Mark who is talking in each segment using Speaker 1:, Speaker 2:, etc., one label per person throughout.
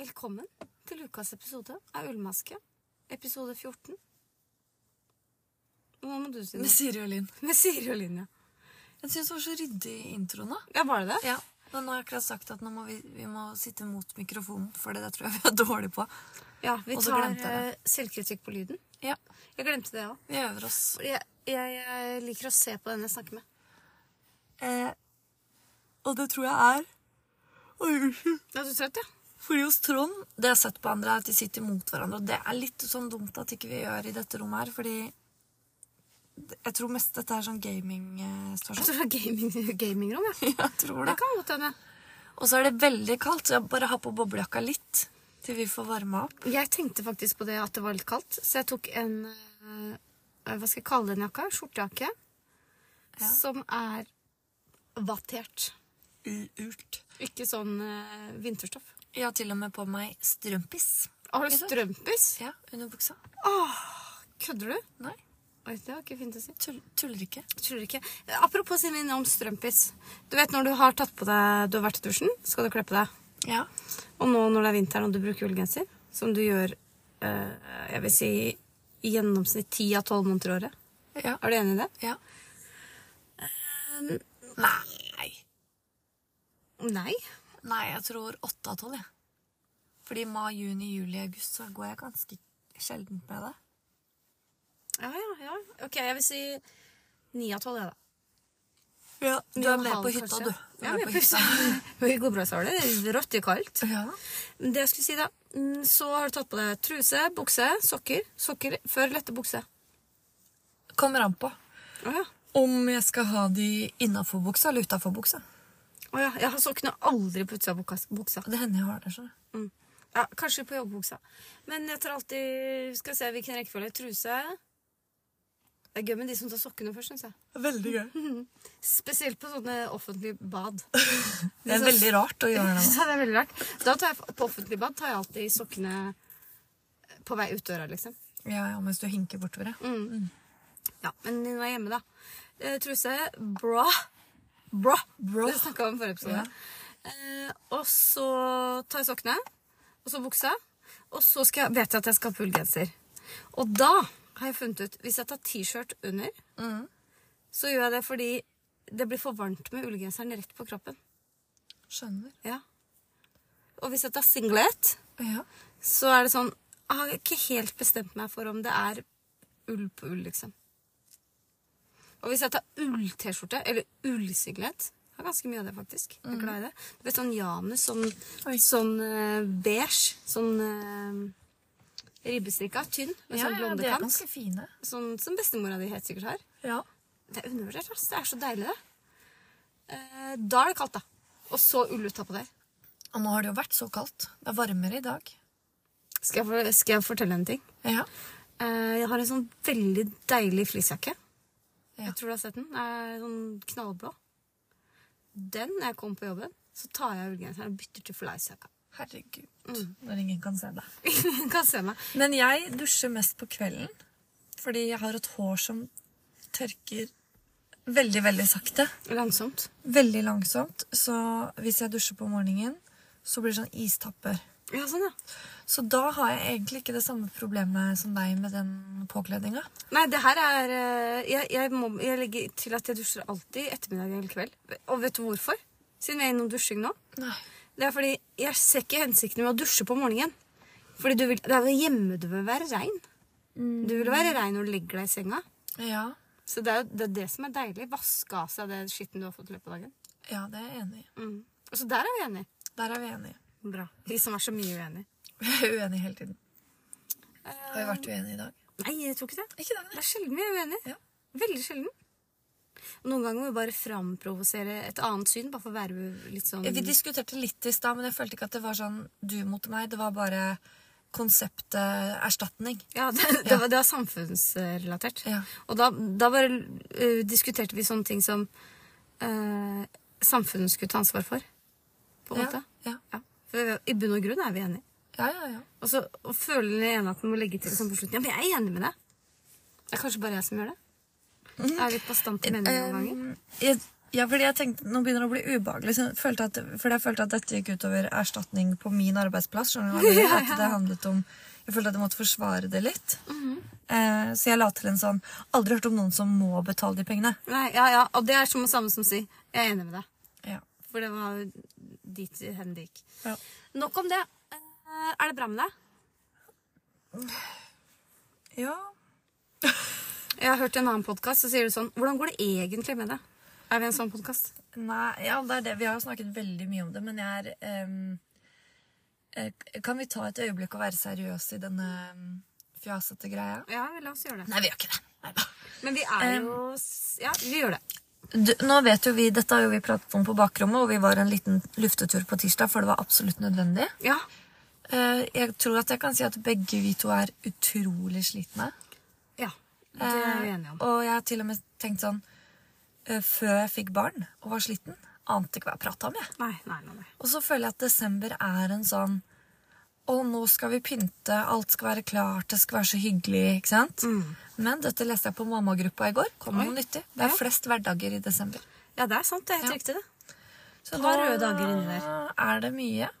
Speaker 1: velkommen til ukas episode av Ullmaske. Episode 14. Hva må du si nå?
Speaker 2: Med Siri og Linn.
Speaker 1: Med Siri og Linja.
Speaker 2: Jeg syns det var så ryddig i introen, da.
Speaker 1: Ja, var det det?
Speaker 2: Ja. Men nå har jeg akkurat sagt at nå må vi, vi må sitte mot mikrofonen, for det der tror jeg vi er dårlige på.
Speaker 1: Ja, vi
Speaker 2: Og så
Speaker 1: tar
Speaker 2: glemte jeg
Speaker 1: eh, selvkritikk på lyden.
Speaker 2: Ja.
Speaker 1: Jeg glemte det òg.
Speaker 2: Vi øver oss.
Speaker 1: Jeg, jeg, jeg liker å se på den jeg snakker med.
Speaker 2: Eh, og det tror jeg er Oi, unnskyld.
Speaker 1: Er du trøtt, ja?
Speaker 2: Fordi hos Trond, det jeg har sett på andre, er at de sitter mot hverandre. Og det er litt sånn dumt at ikke vi gjør i dette rommet her, fordi jeg tror mest dette er sånn
Speaker 1: Jeg
Speaker 2: gaming-stasjon.
Speaker 1: tror det er gaming, gamingrom, ja.
Speaker 2: Jeg tror
Speaker 1: Det
Speaker 2: det.
Speaker 1: kan godt hende.
Speaker 2: Og så er det veldig kaldt, så jeg bare har på boblejakka litt til vi får varma opp.
Speaker 1: Jeg tenkte faktisk på det at det var litt kaldt, så jeg tok en eh, Hva skal jeg kalle den jakka? Skjortejakke.
Speaker 2: Ja.
Speaker 1: Som er vattert.
Speaker 2: Urt.
Speaker 1: Ikke sånn eh, vinterstoff.
Speaker 2: Jeg har til og med på meg strømpis.
Speaker 1: Har du
Speaker 2: Ikke sant?
Speaker 1: strømpis?
Speaker 2: Ja, under buksa.
Speaker 1: Kødder du?
Speaker 2: Nei,
Speaker 1: Oi, det var ikke fint å si.
Speaker 2: tull, tuller ikke.
Speaker 1: Jeg Tror ikke. Apropos siden vi er inne om strømpis. Du vet når du har tatt på deg Du har vært i dusjen, skal du kle på deg.
Speaker 2: Ja.
Speaker 1: Og nå når det er vinteren og du bruker ullgenser, som du gjør eh, jeg vil si i gjennomsnitt ti av tolv måneder i året.
Speaker 2: Ja.
Speaker 1: Er du enig i det?
Speaker 2: ja. Um, Nei.
Speaker 1: Nei.
Speaker 2: Nei, jeg tror 8 av 12, jeg. Fordi mai, juni, juli, august, så går jeg ganske sjeldent med det.
Speaker 1: Ja, ja, ja. Ok, jeg vil si ni av tolv, jeg, da.
Speaker 2: Ja, du
Speaker 1: Ni og
Speaker 2: er
Speaker 1: en
Speaker 2: med
Speaker 1: halv,
Speaker 2: på hytta,
Speaker 1: kanskje.
Speaker 2: du. Du
Speaker 1: Ja, jeg
Speaker 2: er med
Speaker 1: er
Speaker 2: på
Speaker 1: på
Speaker 2: hytta.
Speaker 1: hytta. Det går bra, så har det. Rått og kaldt.
Speaker 2: Ja.
Speaker 1: Men Det jeg skulle si, da. mm, Så har du tatt på deg truse, bukse, sokker. Sokker før lette bukse.
Speaker 2: Kommer an på
Speaker 1: Å ja.
Speaker 2: om jeg skal ha de innafor buksa eller utafor buksa.
Speaker 1: Å ja. Jeg har sokkene aldri på utsida av bukas- buksa.
Speaker 2: Det hender jeg har det. skjønner du.
Speaker 1: Mm. Ja, kanskje på joggebuksa. Men jeg tar alltid Skal vi se hvilken rekkefølge. Truse. Det er gøy med de som tar sokkene først, syns jeg.
Speaker 2: Veldig gøy.
Speaker 1: Spesielt på sånne offentlige bad.
Speaker 2: Det er veldig rart å gjøre det.
Speaker 1: Ja, det er veldig rart. Da tar jeg på offentlig bad tar jeg alltid sokkene eh, på vei ut døra, liksom.
Speaker 2: Ja, ja, mens du hinker bortover, ja.
Speaker 1: Ja, Men når jeg er hjemme, da. Eh, Truse, bra. Bra.
Speaker 2: Bra.
Speaker 1: Det snakka vi om i forrige episode.
Speaker 2: Ja.
Speaker 1: Eh, og så tar jeg sokkene, og så buksa. Og så skal jeg, vet jeg at jeg skal ha ullgenser. Og da har jeg funnet ut Hvis jeg tar T-skjørt under,
Speaker 2: Mm.
Speaker 1: så gjør jeg det fordi det blir for varmt med ullgenseren rett på kroppen.
Speaker 2: Skjønner.
Speaker 1: Ja. Og hvis jeg tar singlet,
Speaker 2: Ja.
Speaker 1: så er det sånn Jeg har ikke helt bestemt meg for om det er ull på ull, liksom. Og hvis jeg tar ull-T-skjorte, eller ullsinglet Jeg har ganske mye av det, faktisk. Jeg er glad i det. Du vet sånn janus, sånn,
Speaker 2: Oi.
Speaker 1: sånn eh, beige, sånn uh, ribbestrikka, tynn, med
Speaker 2: Ja,
Speaker 1: sånn
Speaker 2: ja, de er
Speaker 1: blondekant.
Speaker 2: ganske fine.
Speaker 1: Sånn som bestemora di helt sikkert har.
Speaker 2: Ja.
Speaker 1: Det er undervurdert, ass. Det er så deilig, det. Eh, da er det kaldt, da. Og så ull utapå der.
Speaker 2: Og nå har det jo vært så kaldt. Det er varmere i dag.
Speaker 1: Skal jeg, for- skal jeg fortelle en ting?
Speaker 2: Ja.
Speaker 1: Eh, Jeg har en sånn veldig deilig fleecejakke.
Speaker 2: Ja.
Speaker 1: Jeg tror du har sett den. Den er sånn knallblå. Den, når jeg kommer på jobben, så tar jeg ullgenseren og bytter til fleecejakka.
Speaker 2: Herregud. Når ingen kan se deg.
Speaker 1: Ingen kan se meg.
Speaker 2: Mm. Men jeg dusjer mest på kvelden, fordi jeg har et hår som tørker veldig, veldig sakte.
Speaker 1: Langsomt.
Speaker 2: Veldig langsomt. Så hvis jeg dusjer på morgenen, så blir det sånn istapper.
Speaker 1: Ja, sånn, ja.
Speaker 2: Så da har jeg egentlig ikke det samme problemet som deg med den påkledninga.
Speaker 1: Nei, det her er eh, Jeg, jeg, må, jeg legger til at jeg dusjer alltid ettermiddag eller kveld. Og vet du hvorfor? Siden vi er innom dusjing nå.
Speaker 2: Nei.
Speaker 1: Det er fordi jeg ser ikke hensikten med å dusje på morgenen. Fordi du vil, det er jo hjemme du vil være rein. Du vil være rein når du legger deg i senga.
Speaker 2: Ja.
Speaker 1: Så det er jo det, er det som er deilig. Vaske av seg det skitten du har fått i løpet av dagen.
Speaker 2: ja, det er jeg enig i.
Speaker 1: Så der er vi enige.
Speaker 2: Der er vi enige.
Speaker 1: Mm. Bra. De som er så mye uenige.
Speaker 2: Vi er uenige hele tiden. Har vi vært uenige i dag?
Speaker 1: Nei, jeg tror Um, ikke det.
Speaker 2: Ikke det,
Speaker 1: Det er sjelden vi er uenige.
Speaker 2: Ja.
Speaker 1: Veldig sjelden. Noen ganger må vi bare framprovosere et annet syn, bare for å være litt sånn
Speaker 2: Ja, Vi diskuterte litt i stad, men jeg følte ikke at det var sånn du mot meg. Det var bare konseptet erstatning.
Speaker 1: Ja, det, det, var, det var samfunnsrelatert.
Speaker 2: Ja.
Speaker 1: Og da, da bare eh, diskuterte vi sånne ting som eh, samfunnet skulle ta ansvar for, på en måte.
Speaker 2: Ja,
Speaker 1: Ja. For vi- i bunn og grunn er vi enige.
Speaker 2: ja, ja. ja.
Speaker 1: Og så og føler den ene at den må legge til sånn på slutten. Ja, men jeg er enig med deg. Det er kanskje bare jeg som gjør det. Jeg er litt bastant i meningen noen ganger.
Speaker 2: Um, jeg, Ja, fordi jeg tenkte, Nå begynner det å bli ubehagelig, så jeg følte at, fordi jeg følte at dette gikk utover erstatning på min arbeidsplass. skjønner du hva jeg mener? At det handlet om, Jeg følte at jeg måtte forsvare det litt.
Speaker 1: Mhm.
Speaker 2: eh, så jeg la til en sånn Aldri hørt om noen som må betale de pengene.
Speaker 1: Nei, ja, ja, og det er som det samme som si. Jeg er enig med deg.
Speaker 2: Ja.
Speaker 1: For det var dit hen det gikk.
Speaker 2: Ja.
Speaker 1: Nok om det. Eh, Er det bra med deg?
Speaker 2: ja.
Speaker 1: Jeg har hørt i en annen podkast, så sier du sånn Hvordan går det egentlig med deg? Er vi en sånn podkast?
Speaker 2: Nei, ja, det er det. Vi har jo snakket veldig mye om det, men jeg er ehm, eh, Kan vi ta et øyeblikk og være seriøse i denne ehm, fjasete greia?
Speaker 1: Ja, vi la oss gjøre det.
Speaker 2: Nei, vi gjør ikke det. Neida.
Speaker 1: Men vi er jo s- Ja, vi gjør det.
Speaker 2: Du, nå vet jo vi, Dette har jo vi pratet om på bakrommet, og vi var en liten luftetur på tirsdag, for det var absolutt nødvendig.
Speaker 1: Ja.
Speaker 2: Eh, jeg tror at jeg kan si at begge vi to er utrolig slitne.
Speaker 1: ja. Det er vi enige om.
Speaker 2: Eh, og jeg har til og med tenkt sånn eh, Før jeg fikk barn og var sliten, ante ikke hva jeg prata om, jeg.
Speaker 1: Nei, nei, nei. nei.
Speaker 2: Og så føler jeg at desember er en sånn Å, nå skal vi pynte, alt skal være klart, det skal være så hyggelig. ikke sant?
Speaker 1: Mm.
Speaker 2: Men dette leste jeg på mammagruppa i går. Kom med noe nyttig. Det er flest hverdager i desember.
Speaker 1: Ja, det er sant. Det er helt riktig, det.
Speaker 2: Så
Speaker 1: Par røde dager inni der.
Speaker 2: er det mye,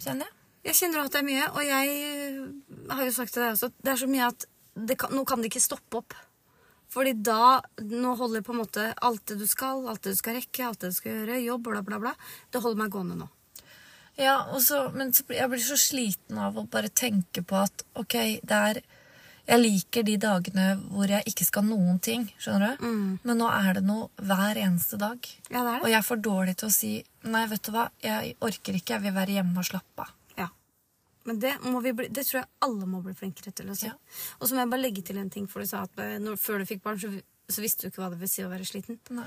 Speaker 2: kjenner jeg.
Speaker 1: Jeg kjenner at det er mye, og jeg øh, har jo sagt til deg også at det er så mye at det kan, nå kan det ikke stoppe opp. Fordi da, nå holder på en måte alt det du skal, alt det du skal rekke, alt det du skal gjøre, jobb, bla, bla, bla. Det holder meg gående nå.
Speaker 2: Ja, og så, Men så, blir- jeg blir så sliten av å bare tenke på at ok, det er Jeg liker de dagene hvor jeg ikke skal noen ting, skjønner du?
Speaker 1: Mm.
Speaker 2: Men nå er det noe hver eneste dag.
Speaker 1: Ja, det er
Speaker 2: Og
Speaker 1: det.
Speaker 2: jeg er for dårlig til å si Nei, vet du hva, jeg orker ikke, jeg vil være hjemme og slappe av.
Speaker 1: Ja. Men det, må vi bli, det tror jeg alle må bli flinkere til å si.
Speaker 2: Ja.
Speaker 1: Og så må jeg bare legge til en ting, for du sa at øh, når, før du fikk barn, så, vi- så visste du ikke hva det vil si å være sliten.
Speaker 2: Nei.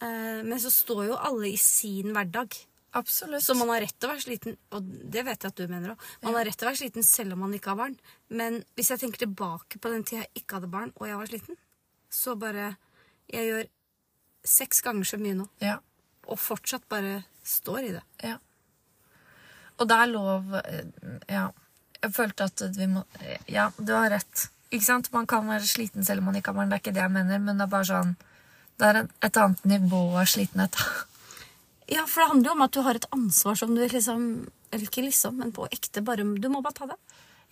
Speaker 1: Eh, men så står jo alle i sin hverdag.
Speaker 2: Absolutt.
Speaker 1: Så man har rett til å være sliten, og det vet jeg at du mener òg. Man har rett til å være sliten selv om man ikke har barn. Men hvis jeg tenker tilbake på den tida jeg ikke hadde barn, og jeg var sliten, så bare Jeg gjør seks ganger så mye nå,
Speaker 2: ja,
Speaker 1: og fortsatt bare står i det.
Speaker 2: ja. Og det er lov eh, Ja. Jeg følte at vi må eh, Ja, du har rett. Ikke sant? Man kan være sliten selv om man ikke har barn. Det er ikke det jeg mener, men det er bare sånn Det er en- et annet nivå av slitenhet.
Speaker 1: Ja, for det handler jo om at du har et ansvar som du liksom Eller ikke liksom, men på ekte. Bare Du må bare ta det.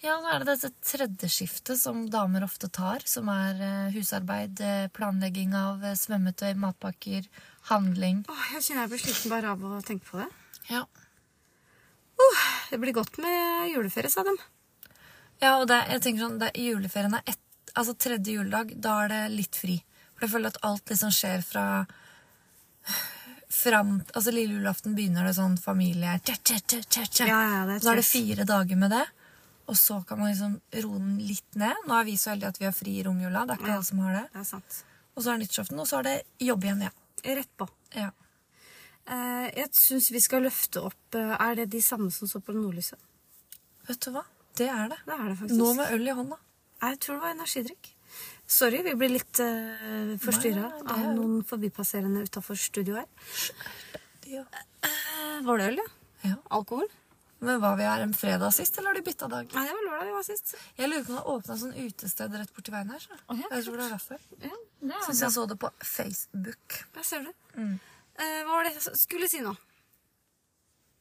Speaker 2: Ja, nå er det dette tredje skiftet som damer ofte tar, som er eh, husarbeid, eh, planlegging av eh, svømmetøy, matpakker, handling.
Speaker 1: Åh, jeg kjenner jeg blir sliten bare av å tenke på det.
Speaker 2: Ja.
Speaker 1: Det blir godt med juleferie, sa de.
Speaker 2: Ja, og det, jeg tenker sånn, det, juleferien er ett, altså tredje juledag, da er det litt fri. For jeg føler at alt liksom skjer fra fram, altså lille julaften begynner det sånn familie, tja, tja, tja, tja, tja.
Speaker 1: Ja, ja, det er
Speaker 2: så er det
Speaker 1: trist.
Speaker 2: fire dager med det, og så kan man liksom roe den litt ned. Nå er vi så heldige at vi har fri i romjula, det er ikke
Speaker 1: Ja.
Speaker 2: alle som har det.
Speaker 1: Det er sant.
Speaker 2: Og så er det nyttårsaften, og så er det jobb igjen, ja.
Speaker 1: Rett på.
Speaker 2: ja.
Speaker 1: Eh, jeg syns vi skal løfte opp eh, Er det de samme som så på Nordlyset?
Speaker 2: Vet du hva? Det er det.
Speaker 1: Det er det faktisk.
Speaker 2: Nå med øl i hånda.
Speaker 1: Jeg tror det var energidrikk. Sorry, vi blir litt uh, forstyrra
Speaker 2: Nei, det
Speaker 1: av
Speaker 2: er-
Speaker 1: noen forbipasserende utafor studio her.
Speaker 2: Ja.
Speaker 1: Eh, var det øl, ja?
Speaker 2: Ja.
Speaker 1: Alkohol?
Speaker 2: Men hva vi er en fredag sist, eller har de byttet dag?
Speaker 1: Nei, det var lørdag vi var sist.
Speaker 2: Jeg lurer på om det har åpnet sånn utested rett borti veien her. Så.
Speaker 1: Å, ja,
Speaker 2: jeg tror det er derfor.
Speaker 1: Ja, det er
Speaker 2: Syns jeg så det på Facebook.
Speaker 1: Jeg ser det. Eh, hva var det jeg s- skulle si nå?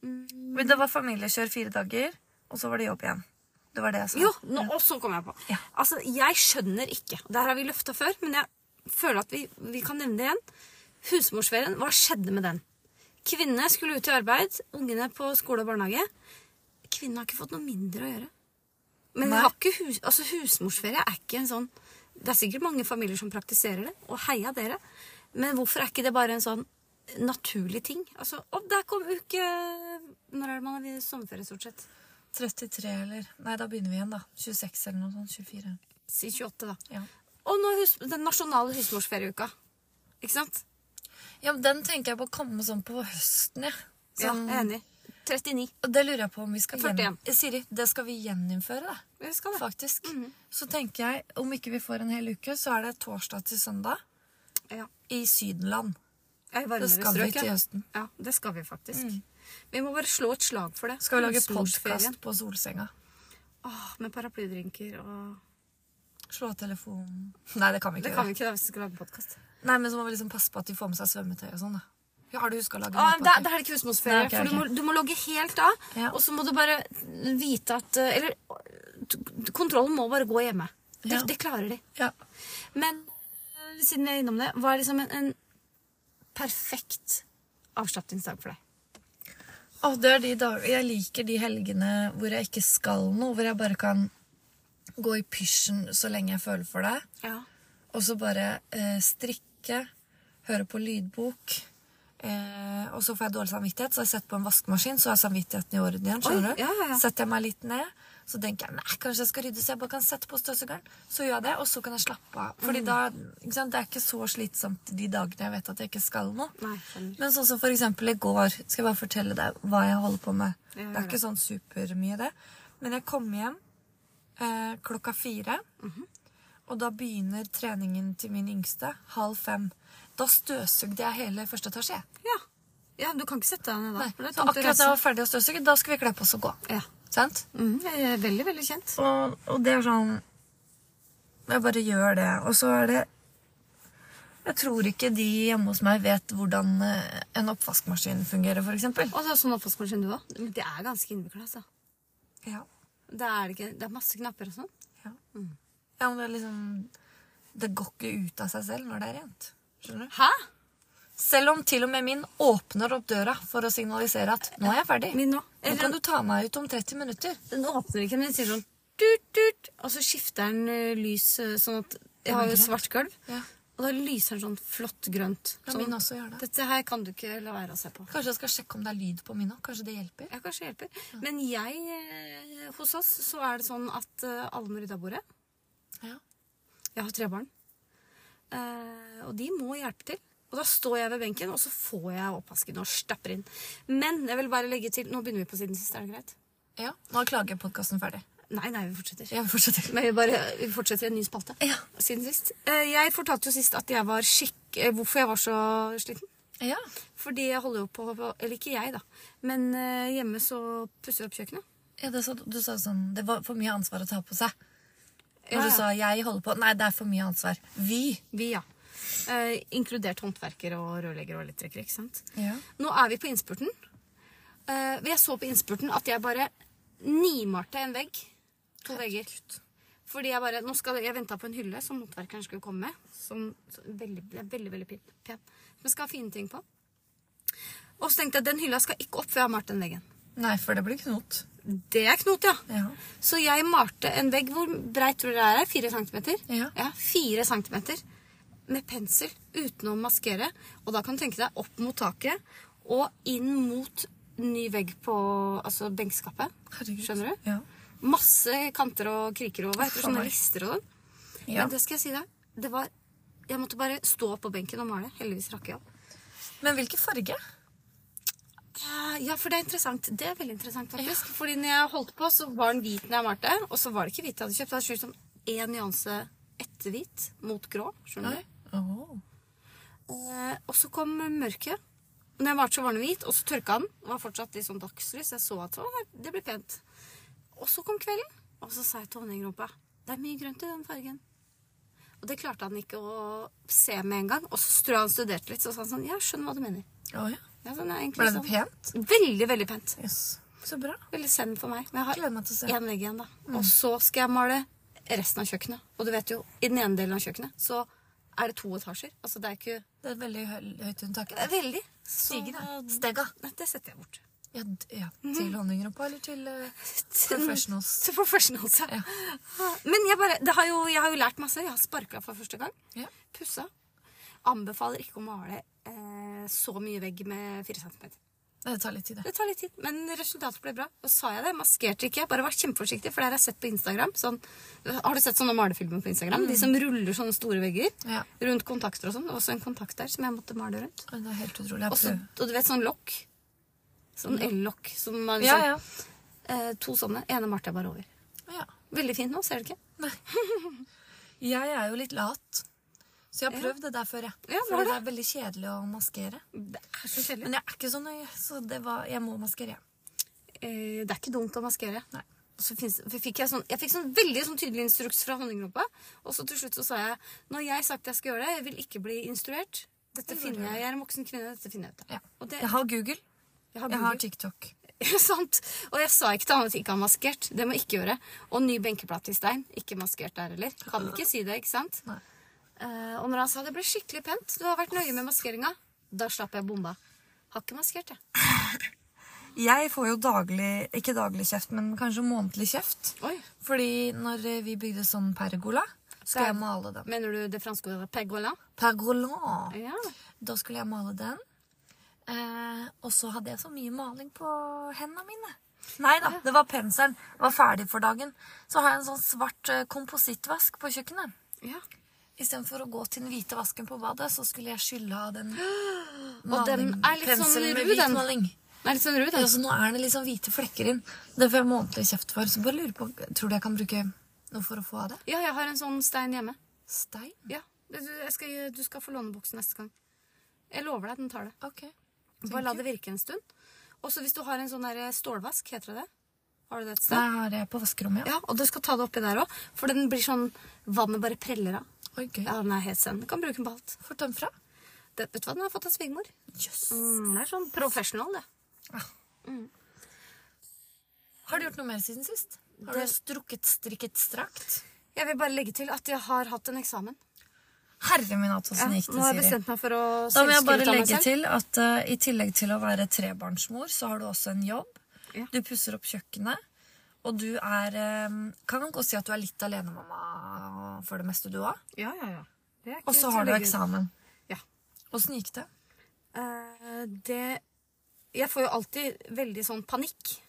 Speaker 2: Men det var familiekjør fire dager, og så var det jobb igjen. Det var det jeg sa.
Speaker 1: Jo, nå, og så kom jeg på.
Speaker 2: Ja.
Speaker 1: Altså, jeg skjønner ikke. Der har vi løfta før, men jeg føler at vi, vi kan nevne det igjen. Husmorsferien, hva skjedde med den? Kvinnene skulle ut i arbeid, ungene på skole og barnehage. Kvinnene har ikke fått noe mindre å gjøre. Men vi
Speaker 2: Nei.
Speaker 1: har ikke hus, altså, husmorsferie er ikke en sånn Det er sikkert mange familier som praktiserer det, og heia dere. Men hvorfor er ikke det bare en sånn naturlig ting? Altså, å, der kom uke Når er det man har sommerferie, stort sett?
Speaker 2: 33 eller Nei, da begynner vi igjen, da. 26 eller noe sånt. 24.
Speaker 1: Si 28, da.
Speaker 2: Ja.
Speaker 1: Og nå hus den nasjonale husmorsferieuka. Ikke sant?
Speaker 2: ja, men den tenker jeg på å komme sånn på høsten, jeg.
Speaker 1: Ja,
Speaker 2: Sånn,
Speaker 1: jeg er enig. 39.
Speaker 2: Og det lurer jeg på om vi skal
Speaker 1: 41.
Speaker 2: gjen- Eh, Siri, det skal vi gjeninnføre, da.
Speaker 1: Jeg skal det.
Speaker 2: Faktisk. Så tenker jeg, om ikke vi får en hel uke, så er det torsdag til søndag
Speaker 1: Ja.
Speaker 2: i Sydenland.
Speaker 1: Jeg er i
Speaker 2: Det
Speaker 1: varmere
Speaker 2: skal vi
Speaker 1: strøk,
Speaker 2: til
Speaker 1: ja.
Speaker 2: høsten.
Speaker 1: ja. Det skal vi faktisk. Vi må bare slå et slag for det.
Speaker 2: Skal vi lage
Speaker 1: Husmorsferien.
Speaker 2: podkast på solsenga?
Speaker 1: Åh, med paraplydrinker og
Speaker 2: Slå av telefonen Nei, det kan vi ikke
Speaker 1: Det
Speaker 2: gjøre.
Speaker 1: kan vi ikke da hvis vi skal lage podkast.
Speaker 2: Nei, men så må vi liksom passe på at de får med seg svømmetøy og sånn, da. Ja, har du huska å lage
Speaker 1: Ah, da,
Speaker 2: matpakke?
Speaker 1: da er det ikke husmorsferie,
Speaker 2: Nei, ok, ok.
Speaker 1: for du må, du må logge helt av.
Speaker 2: Ja.
Speaker 1: Og så må du bare vite at eh, Eller t- kontrollen må bare gå hjemme. Det,
Speaker 2: Ja.
Speaker 1: det klarer de.
Speaker 2: Ja.
Speaker 1: Men eh, siden jeg er innom det, hva er liksom en, en perfekt avslapningsdag for deg?
Speaker 2: Å, det er de dag- Jeg liker de helgene hvor jeg ikke skal noe, hvor jeg bare kan gå i pysjen så lenge jeg føler for det.
Speaker 1: Ja.
Speaker 2: Og så bare eh, strikke, høre på lydbok. Eh, og så får jeg dårlig samvittighet, så har jeg setter på en vaskemaskin, så er samvittigheten i orden igjen. skjønner
Speaker 1: Oi,
Speaker 2: du?
Speaker 1: ja, ja, ja.
Speaker 2: Setter jeg meg litt ned, så tenker jeg nei, kanskje jeg skal rydde, så jeg bare kan sette på støvsugeren. Så gjør jeg det, og så kan jeg slappe av. Fordi
Speaker 1: Mm.
Speaker 2: da, ikke sant, Det er ikke så slitsomt de dagene jeg vet at jeg ikke skal noe.
Speaker 1: Nei, skjønner.
Speaker 2: Men sånn som for eksempel i går, skal jeg bare fortelle deg hva jeg holder på med.
Speaker 1: Ja, gjør
Speaker 2: det er ikke
Speaker 1: det.
Speaker 2: sånn supermye, det. Men jeg kom hjem eh, klokka fire.
Speaker 1: Mhm.
Speaker 2: Og da begynner treningen til min yngste halv fem. Da støvsugde jeg hele første etasje. jeg.
Speaker 1: Ja. ja. Du kan ikke sette deg ned da.
Speaker 2: Nei,
Speaker 1: for det er
Speaker 2: så
Speaker 1: tungt å
Speaker 2: akkurat da jeg var
Speaker 1: reise.
Speaker 2: ferdig å støvsuge, da skulle vi kle på oss og gå.
Speaker 1: Ja.
Speaker 2: Sant?
Speaker 1: Mhm, det er veldig, veldig kjent.
Speaker 2: Og, og det er sånn Jeg bare gjør det. Og så er det Jeg tror ikke de hjemme hos meg vet hvordan eh, en oppvaskmaskin fungerer, f.eks.
Speaker 1: Og så er det sånn oppvaskmaskin du òg. Det er ganske innvikla, altså.
Speaker 2: Ja.
Speaker 1: Det er, det ikke, det er masse knapper og sånn.
Speaker 2: Ja. ja, men det er liksom Det går ikke ut av seg selv når det er rent. Skjønner du?
Speaker 1: Hæ?
Speaker 2: Selv om til og med min åpner opp døra for å signalisere at nå er jeg ferdig.
Speaker 1: Min nå.
Speaker 2: Nå kan du ta meg ut om 30 minutter.
Speaker 1: Den åpner ikke, men den sier sånn tut, tut, Og så skifter den ø, lys ø, sånn at Jeg har jo
Speaker 2: grønt.
Speaker 1: svart gulv.
Speaker 2: Ja.
Speaker 1: Og da lyser den sånn flott grønt.
Speaker 2: Ja,
Speaker 1: Sånn,
Speaker 2: min også gjør det.
Speaker 1: Dette her kan du ikke la være å se på.
Speaker 2: Kanskje jeg skal sjekke om det er lyd på min òg. Kanskje det hjelper.
Speaker 1: Jeg kanskje hjelper. Men jeg, ø, hos oss, så er det sånn at ø, alle må rydde av bordet.
Speaker 2: Ja.
Speaker 1: Jeg har tre barn. Eh, og de må hjelpe til. Og da står jeg ved benken, og så får jeg oppvasken og stapper inn. Men jeg vil bare legge til Nå begynner vi på siden sist, er det greit?
Speaker 2: ja. Nå er klagepodkasten ferdig.
Speaker 1: Nei, nei, vi fortsetter.
Speaker 2: Jeg fortsetter.
Speaker 1: Men vi bare vi fortsetter i en ny spalte.
Speaker 2: Ja.
Speaker 1: Siden sist. Eh, Jeg fortalte jo sist at jeg var skikk... eh, Hvorfor jeg var så sliten.
Speaker 2: Ja.
Speaker 1: Fordi jeg holder jo på Eller ikke jeg, da. Men eh, hjemme så pusser jeg opp kjøkkenet.
Speaker 2: ja det sa, du sa sånn Det var for mye ansvar å ta på seg. Når
Speaker 1: Ja,
Speaker 2: du
Speaker 1: ja.
Speaker 2: sa 'jeg holder på' Nei, det er for mye ansvar. Vi.
Speaker 1: Vi, ja. Eh, inkludert håndverkere og rørleggere og elektrikere. ikke sant?
Speaker 2: Ja.
Speaker 1: Nå er vi på innspurten. Eh, jeg så på innspurten at jeg bare nimalte en vegg. To vegger. Fordi jeg bare, nå skal, jeg venta på en hylle som håndverkeren skulle komme med. Som så- veldig, det er veldig, veldig pen. pen. Som jeg skal ha fine ting på. Og så tenkte jeg den hylla skal ikke opp før jeg har malt den veggen.
Speaker 2: Nei, for det blir knot.
Speaker 1: Det er knot, ja.
Speaker 2: Ja.
Speaker 1: Så jeg malte en vegg hvor breit tror dere det er? Fire centimeter?
Speaker 2: Ja.
Speaker 1: fire centimeter. Med pensel, uten å maskere. Og da kan du tenke deg opp mot taket og inn mot ny vegg på altså benkskapet.
Speaker 2: Herregud.
Speaker 1: Skjønner du?
Speaker 2: Ja.
Speaker 1: Masse kanter og kriker og hva heter det,
Speaker 2: Faen
Speaker 1: sånne
Speaker 2: meg.
Speaker 1: lister og sånn.
Speaker 2: Ja.
Speaker 1: Men det skal jeg si deg, det var Jeg måtte bare stå på benken og male. Heldigvis rakk jeg opp.
Speaker 2: Men hvilken farge?
Speaker 1: Eh, Ja, for det er interessant. Det er veldig interessant, faktisk. Fordi når jeg holdt på, så var den hvit når jeg malte. Og så var det ikke hvit jeg hadde kjøpt. Jeg hadde kjøpt sånn én nyanse etter hvit mot grå. skjønner du?
Speaker 2: Åh.
Speaker 1: Eh, og så kom mørket. Når jeg malte, så var den hvit, og så tørka den. Den var fortsatt litt sånn dagslys. Jeg så at å, det- det ble pent. Og så kom kvelden, og så sa jeg til honningrumpa det er mye grønt i den fargen. Og det klarte han ikke å se med en gang. Og så tror jeg han studerte litt, så sa han sånn Ja, jeg skjønner hva du mener.
Speaker 2: Å, ja.
Speaker 1: Ja, sånn er egentlig
Speaker 2: Ble det
Speaker 1: sånn.
Speaker 2: pent?
Speaker 1: Veldig, veldig pent.
Speaker 2: Yes. Så bra.
Speaker 1: Veldig send for meg. Men jeg
Speaker 2: Gleder Mm.
Speaker 1: har
Speaker 2: meg til å se.
Speaker 1: én vegg igjen, da. Og så skal jeg male resten av kjøkkenet. Og du vet jo, i den ene delen av kjøkkenet så er det to etasjer. Altså det er ikke
Speaker 2: Det er et veldig hø- høyt unntak.
Speaker 1: det er Veldig. Stigen,
Speaker 2: Stigen, ja. Stega.
Speaker 1: Nei, det setter jeg bort.
Speaker 2: Ja, d- ja. Til honninggruppa eller til eh, professionals?
Speaker 1: Mhm. Til professionals, ja.
Speaker 2: Ja.
Speaker 1: Men jeg, bare, det har jo, jeg har jo lært masse. Jeg har sparka for første gang.
Speaker 2: Ja.
Speaker 1: Pussa. Anbefaler ikke å male eh, så mye vegg med fire centimeter.
Speaker 2: Det tar litt tid, det.
Speaker 1: Det tar litt tid, men resultatet ble bra. Og sa jeg det, maskerte ikke. Jeg bare var kjempeforsiktig, for det har jeg sett på Instagram. Sånn, har du sett sånne malefilmer på Instagram?
Speaker 2: Mm.
Speaker 1: De som ruller sånne store vegger
Speaker 2: Ja.
Speaker 1: rundt kontakter og sånn. Det var også en kontakt der som jeg måtte male rundt.
Speaker 2: Men Det er helt utrolig. Jeg
Speaker 1: Og så-
Speaker 2: prøver.
Speaker 1: og du vet sånn lokk. Sånn el-lokk. Som er
Speaker 2: Mm. Ja,
Speaker 1: liksom,
Speaker 2: ja.
Speaker 1: eh, to sånne. Ene malte jeg bare over.
Speaker 2: ja.
Speaker 1: Veldig fint nå, ser du ikke?
Speaker 2: Jeg er jo litt lat, så jeg har prøvd det der før, jeg.
Speaker 1: Ja, hva
Speaker 2: For
Speaker 1: er
Speaker 2: det er veldig kjedelig å maskere.
Speaker 1: Det er så kjedelig.
Speaker 2: Men jeg er ikke så nøye, så det var, jeg må maskere.
Speaker 1: Eh, det er ikke dumt å maskere.
Speaker 2: Nei.
Speaker 1: Og så finnes, for fikk jeg, sånn, jeg fikk sånn veldig sånn tydelig instruks fra honninggruppa. Og så til slutt så sa jeg når jeg sagt jeg skal gjøre det, jeg vil ikke bli instruert. Dette finner jeg. Jeg er en voksen kvinne. Dette finner jeg ut av.
Speaker 2: Ja.
Speaker 1: Og det,
Speaker 2: Jeg har Google.
Speaker 1: jeg har
Speaker 2: Jeg har
Speaker 1: Google.
Speaker 2: TikTok.
Speaker 1: Sant. Og jeg sa ikke til han at ikke han maskert. Det må jeg ikke gjøre. Og ny benkeplate i stein. Ikke maskert der heller. Kan ikke si det, ikke sant?
Speaker 2: Nei.
Speaker 1: Eh, og når han sa det ble skikkelig pent, du har vært nøye med maskeringa, da slapp jeg bomba. Har ikke maskert, jeg.
Speaker 2: Jeg får jo daglig, ikke daglig kjeft, men kanskje månedlig kjeft.
Speaker 1: Oi.
Speaker 2: Fordi når eh, vi bygde sånn pergola, skulle jeg
Speaker 1: Per-
Speaker 2: male den.
Speaker 1: Mener du det franske ordet pergola?
Speaker 2: Pergola!
Speaker 1: Ja.
Speaker 2: Da skulle jeg male den. Eh, og så hadde jeg så mye maling på hendene mine. Nei da, det var penselen. Det var ferdig for dagen. Så har jeg en sånn svart eh, komposittvask på kjøkkenet.
Speaker 1: ja.
Speaker 2: Istedenfor å gå til den hvite vasken på badet, så skulle jeg skylle av den
Speaker 1: den
Speaker 2: maling-
Speaker 1: er litt sånn
Speaker 2: penselen med
Speaker 1: ru,
Speaker 2: hvit
Speaker 1: den.
Speaker 2: maling.
Speaker 1: Det er litt sånn ru,
Speaker 2: Ja,
Speaker 1: den.
Speaker 2: så nå er det liksom hvite flekker inn. Det får jeg månedlig kjeft for. Så bare lurer på, Tror du jeg kan bruke noe for å få av det?
Speaker 1: Ja, jeg har en sånn stein hjemme.
Speaker 2: Stein?
Speaker 1: Ja. Det- du- Jeg skal, gi- du skal få låneboksen neste gang. Jeg lover deg, den tar det.
Speaker 2: Ok.
Speaker 1: Bare la det virke en stund. Og så hvis du har en sånn der stålvask, heter det det? Har du det et sted?
Speaker 2: Det har jeg på vaskerommet, ja.
Speaker 1: Ja, og du skal ta det oppi der òg, for den blir sånn Vannet bare preller av.
Speaker 2: Oi, gøy.
Speaker 1: Ja, den er helt sen. Du kan bruke den på alt.
Speaker 2: Får tømt fra.
Speaker 1: Det, vet du hva, den har fått av svigermor.
Speaker 2: Jøss.
Speaker 1: Mm, det er sånn professional, det.
Speaker 2: Har du gjort noe mer siden sist? Har
Speaker 1: Det-
Speaker 2: du strukket, strikket, strakt?
Speaker 1: Jeg vil bare legge til at jeg har hatt en eksamen.
Speaker 2: Herre min hatt,
Speaker 1: Ja,
Speaker 2: åssen gikk
Speaker 1: nå har jeg
Speaker 2: det, Siri?
Speaker 1: bestemt meg for å
Speaker 2: Da må jeg
Speaker 1: selvskryte
Speaker 2: bare
Speaker 1: av meg
Speaker 2: legge
Speaker 1: selv.
Speaker 2: til at eh, i tillegg til å være trebarnsmor, så har du også en jobb.
Speaker 1: Ja.
Speaker 2: Du pusser opp kjøkkenet, og du er eh, Kan man godt si at du er litt alenemamma for det meste, du òg?
Speaker 1: Ja, ja, ja. Det er ikke
Speaker 2: Og så
Speaker 1: til å
Speaker 2: har du
Speaker 1: legge ut.
Speaker 2: eksamen.
Speaker 1: Ja.
Speaker 2: Åssen gikk det?
Speaker 1: Eh, det Jeg får jo alltid veldig sånn panikk.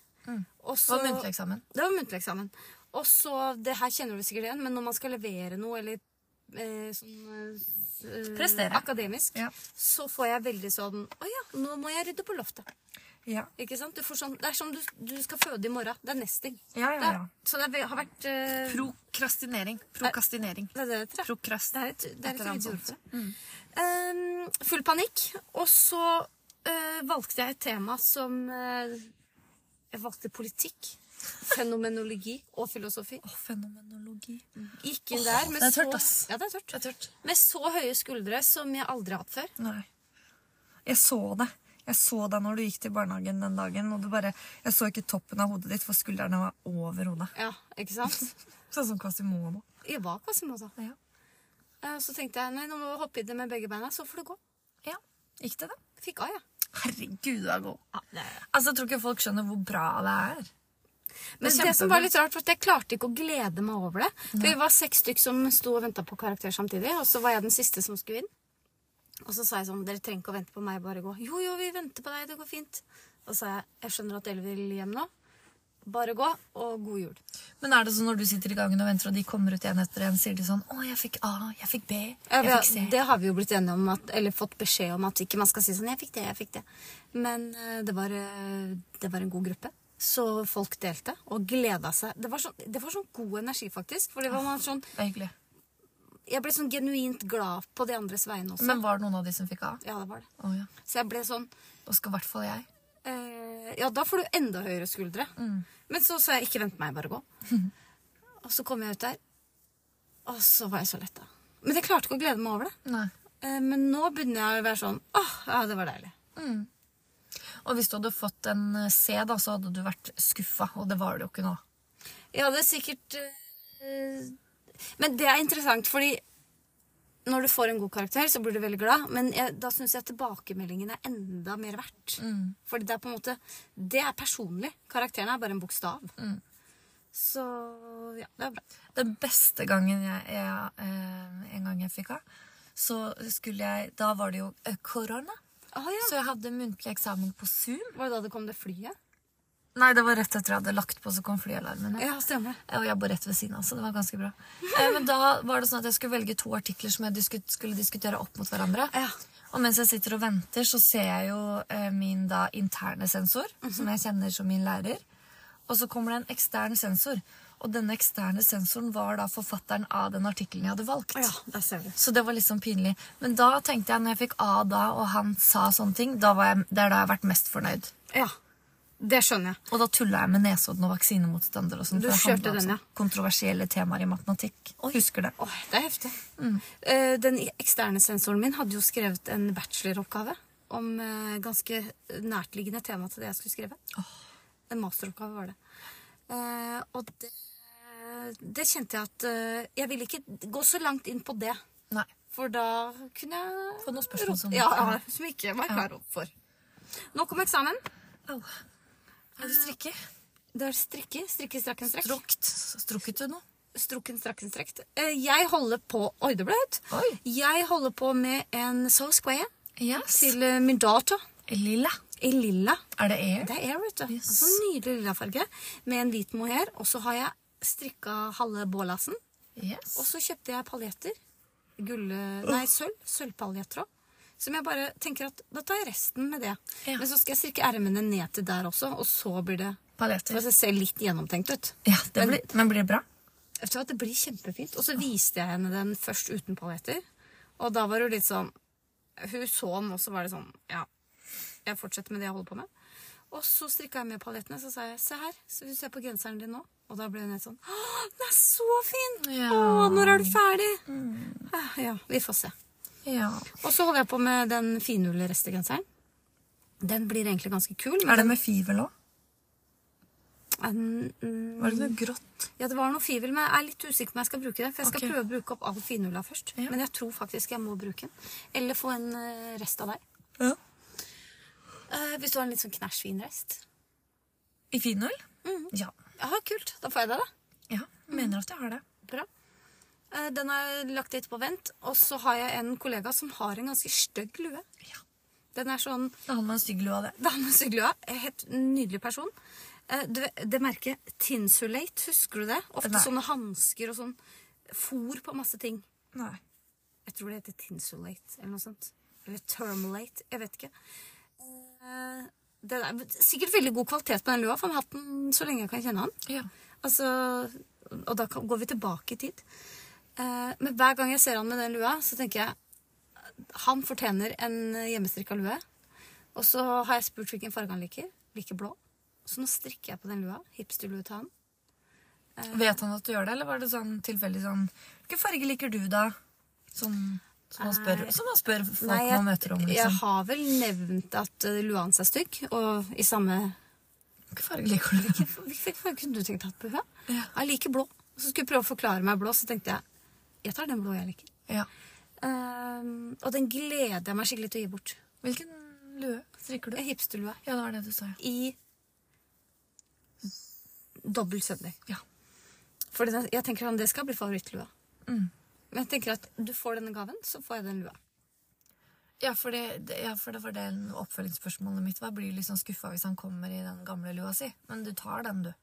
Speaker 1: Og
Speaker 2: Det
Speaker 1: så
Speaker 2: var Mm. muntlig eksamen.
Speaker 1: Det var muntlig eksamen. Og så, det her kjenner du sikkert igjen, men når man skal levere noe, eller eh, sånn eh,
Speaker 2: Prestere.
Speaker 1: akademisk,
Speaker 2: Ja.
Speaker 1: så får jeg veldig sånn Å ja, nå må jeg rydde på loftet.
Speaker 2: Ja.
Speaker 1: Ikke sant? Du får sånn, det er som du, du skal føde i morgen. Det er nesting.
Speaker 2: Ja,
Speaker 1: Det
Speaker 2: ja,
Speaker 1: er,
Speaker 2: ja.
Speaker 1: så det er ve- har vært eh,
Speaker 2: Prokrastinering. Prokastinering.
Speaker 1: Det er det det heter. ja. Det er
Speaker 2: Prokrast.
Speaker 1: et, det er
Speaker 2: Et
Speaker 1: et
Speaker 2: eller annet
Speaker 1: fint ord
Speaker 2: sånt. Mm.
Speaker 1: for det. Eh, full panikk. Og så eh, valgte jeg et tema som eh, Jeg valgte politikk, fenomenologi og filosofi.
Speaker 2: Å, fenomenologi.
Speaker 1: Gikk inn der med
Speaker 2: det er tørt,
Speaker 1: så,
Speaker 2: ass.
Speaker 1: ja, det er tørt.
Speaker 2: Det er tørt.
Speaker 1: Med så høye skuldre som jeg aldri har hatt før.
Speaker 2: Nei. Jeg så det. Jeg så deg når du gikk til barnehagen den dagen. og du bare, Jeg så ikke toppen av hodet ditt, for skuldrene var over hodet.
Speaker 1: Ja, ikke sant?
Speaker 2: Sånn som Quasimodo.
Speaker 1: Jeg var Quasimodo.
Speaker 2: Ja.
Speaker 1: Eh, Så tenkte jeg nei, nå må jeg hoppe i det med begge beina, så får det gå.
Speaker 2: ja. Gikk det, da?
Speaker 1: Fikk A, ja.
Speaker 2: Herregud, du er god.
Speaker 1: ja
Speaker 2: Altså, Jeg tror ikke folk skjønner hvor bra det er.
Speaker 1: Men det,
Speaker 2: Det er
Speaker 1: som var
Speaker 2: kjempebra.
Speaker 1: litt rart, var at jeg klarte ikke å glede meg over det. For vi var seks stykk som sto og venta på karakter samtidig, og så var jeg den siste som skulle inn. Og så sa jeg sånn, dere trenger ikke å vente på meg, bare gå. Jo, jo, vi venter på deg, det går fint. Og så sa jeg, jeg skjønner at dere vil hjem nå. Bare gå, og god jul.
Speaker 2: Men er det sånn når du sitter i gangen og venter, og de kommer ut igjen etter en, sier de sånn 'Å, jeg fikk A, jeg fikk B,
Speaker 1: Ja, vi
Speaker 2: jeg
Speaker 1: har,
Speaker 2: fikk C'.
Speaker 1: det har vi jo blitt enige om, at, eller fått beskjed om at ikke man skal si sånn 'jeg fikk det, jeg fikk det'. Men eh, det, var, eh, det var en god gruppe. Så folk delte og gleda seg. Det var, sånn, det var sånn god energi, faktisk. For det var man sånn,
Speaker 2: Det er hyggelig.
Speaker 1: jeg ble sånn genuint glad på de andres vegne også.
Speaker 2: Men var det noen av de som fikk A?
Speaker 1: Ja, det var det.
Speaker 2: Å ja.
Speaker 1: Så jeg ble sånn
Speaker 2: Da skal i hvert fall jeg.
Speaker 1: eh, Ja, da får du enda høyere skuldre. Men så sa jeg 'ikke vent på meg, bare gå'. og så kom jeg ut der, og så var jeg så letta. Men jeg klarte ikke å glede meg over det.
Speaker 2: Nei.
Speaker 1: Eh, men nå begynner jeg å være sånn åh, ja, det var deilig.
Speaker 2: Og hvis du hadde fått en eh, C, da, så hadde du vært skuffa, og det var det jo ikke nå.
Speaker 1: Jeg hadde sikkert eh, Men det er interessant, fordi når du får en god karakter, så blir du veldig glad. Men jeg, da syns jeg at tilbakemeldingen er enda mer verdt. Fordi det er på en måte Det er personlig. Karakteren er bare en bokstav. Så ja, det er bra.
Speaker 2: Den beste gangen jeg, jeg eh, en gang jeg fikk A, så skulle jeg Da var det jo eh, korona.
Speaker 1: Å Ah, ja.
Speaker 2: Så jeg hadde muntlig eksamen på Zoom.
Speaker 1: Var det da det kom det flyet?
Speaker 2: Nei, det var rett etter jeg hadde lagt på, så kom flyalarmen. Eh,
Speaker 1: Ja, stemmer det.
Speaker 2: Og jeg bor rett ved siden av, så det var ganske bra. Eh, Men da var det sånn at jeg skulle velge to artikler som jeg disku- skulle diskutere opp mot hverandre.
Speaker 1: Ja.
Speaker 2: Og mens jeg sitter og venter, så ser jeg jo eh, min da interne sensor, som jeg kjenner som min lærer. Og så kommer det en ekstern sensor. Og denne eksterne sensoren var da forfatteren av den artikkelen jeg hadde valgt.
Speaker 1: Ja, der ser du.
Speaker 2: Så det var liksom pinlig. Men da tenkte jeg, når jeg fikk A da, og han sa sånne ting, da var jeg, det er da jeg har vært mest fornøyd.
Speaker 1: Ja. Det skjønner jeg.
Speaker 2: Og da tulla jeg med Nesodden og vaksinemotstander. Og sånt,
Speaker 1: Du
Speaker 2: for det handlet
Speaker 1: kjørte
Speaker 2: om
Speaker 1: den,
Speaker 2: sånn Kontroversielle temaer i matematikk. Husker det.
Speaker 1: Åh, det er heftig.
Speaker 2: Mm.
Speaker 1: Eh, den eksterne sensoren min hadde jo skrevet en bacheloroppgave om eh, ganske nærtliggende tema til det jeg skulle skrive. En masteroppgave var det. Eh, og det, det kjente jeg at eh, Jeg ville ikke gå så langt inn på det.
Speaker 2: Nei.
Speaker 1: For da kunne jeg
Speaker 2: Få noen spørsmål
Speaker 1: rot-
Speaker 2: som-
Speaker 1: ja, ja, som jeg ikke var klar for. Nok om eksamen.
Speaker 2: Au. Er du strikker?
Speaker 1: Det er strikke, strikke, strakken, strekk.
Speaker 2: Strukt. Strukket du noe?
Speaker 1: Strukken, strakken, strekt. Eh, Jeg holder på Oi, det ble høyt.
Speaker 2: Oi.
Speaker 1: Jeg holder på med en Soul Square
Speaker 2: Yes.
Speaker 1: til eh, min dato
Speaker 2: Lilla.
Speaker 1: i lilla.
Speaker 2: Er det E? air?
Speaker 1: Det er air, vet du.
Speaker 2: Yes.
Speaker 1: Så nydelig lilla farge. Med en hvit mohair. Og så har jeg strikka halve bålasen.
Speaker 2: Yes.
Speaker 1: Og så kjøpte jeg paljetter. Gull... eh, Nei, sølv. Sølvpaljettråd. Som jeg bare tenker at da tar jeg resten med det.
Speaker 2: Ja.
Speaker 1: Men så skal jeg strikke ermene ned til der også, og så blir det
Speaker 2: Paljetter.
Speaker 1: For det ser litt gjennomtenkt ut.
Speaker 2: Ja, det blir, men blir det bra?
Speaker 1: Vet du hva, det blir kjempefint. Og så viste jeg henne den først uten paljetter. Og da var hun litt sånn Hun så den, og så var det sånn Ja, jeg fortsetter med det jeg holder på med. Og så strikka jeg med paljettene, så sa jeg se her, så vil du se på genseren din nå? Og da ble hun helt sånn Å, den er så fin!
Speaker 2: Ja.
Speaker 1: Å, når er du ferdig? Ah, Ja, vi får se.
Speaker 2: Ja.
Speaker 1: Og så holder jeg på med den finhulle restegenseren. Den blir egentlig ganske kul.
Speaker 2: Er
Speaker 1: Men
Speaker 2: det med fivel òg?
Speaker 1: den, mm,
Speaker 2: Var det noe grått?
Speaker 1: Ja, det var noe fivel, men jeg er litt usikker på om jeg skal bruke det. For jeg skal
Speaker 2: Ok.
Speaker 1: prøve å bruke opp all finhulla først.
Speaker 2: Ja.
Speaker 1: Men jeg tror faktisk jeg må bruke den. Eller få en eh, rest av deg.
Speaker 2: Ja.
Speaker 1: Eh, hvis du har en litt sånn knæsj fin rest.
Speaker 2: I finull? Ja.
Speaker 1: Ja, kult. Da får jeg det, da.
Speaker 2: ja. Mener at jeg har det.
Speaker 1: Bra. Eh, den har jeg lagt litt på vent. Og så har jeg en kollega som har en ganske stygg lue.
Speaker 2: Ja.
Speaker 1: Den er sånn
Speaker 2: Da hadde man en stygg lue av det.
Speaker 1: Dame Syglua, helt nydelig person. Eh, Du, vet- det merket Tinsulate, husker du det? Ofte
Speaker 2: Nei.
Speaker 1: sånne hansker og sånn fôr på masse ting.
Speaker 2: Nei.
Speaker 1: Jeg tror det heter tinsulate eller noe sånt. Eller termolate. Jeg vet ikke. Eh, Det er sikkert veldig god kvalitet på den lua, for han har hatt den så lenge jeg kan kjenne han.
Speaker 2: Ja.
Speaker 1: Altså, og da kan, går vi tilbake i tid. Eh, Men hver gang jeg ser han med den lua, så tenker jeg han fortjener en hjemmestrikka lue. Og så har jeg spurt hvilken farge han liker. Liker blå. Så nå strikker jeg på den lua. Hipsterlue til han.
Speaker 2: Vet han at du gjør det, eller var det sånn tilfeldig sånn Hvilken farge liker du, da? Sånn som han spør,
Speaker 1: Nei.
Speaker 2: som han spør folk
Speaker 1: Nei, jeg,
Speaker 2: man møter om.
Speaker 1: jeg
Speaker 2: Liksom.
Speaker 1: har vel nevnt at eh, lua hans er stygg, og i samme
Speaker 2: Hvilken farge liker du?
Speaker 1: Hvilken farge kunne du tenkt hatt på huet?
Speaker 2: Ja.
Speaker 1: Jeg liker blå. Så skulle jeg prøve å forklare meg blå, så tenkte jeg jeg tar den blå jeg liker.
Speaker 2: Ja.
Speaker 1: Ehm, og den gleder jeg meg skikkelig til å gi bort.
Speaker 2: Hvilken lue strikker du?
Speaker 1: En Hipsterlue
Speaker 2: Ja, det var det du sa. ja.
Speaker 1: i dobbel søndag.
Speaker 2: Ja.
Speaker 1: For den, jeg tenker sånn, det skal bli favorittlua.
Speaker 2: Mm.
Speaker 1: Men jeg tenker at du får denne gaven, så får jeg den lua.
Speaker 2: Ja, for det, det- ja, for det var det oppfølgingsspørsmålet mitt var. Blir du liksom skuffa hvis han kommer i den gamle lua si? Men du tar den, du.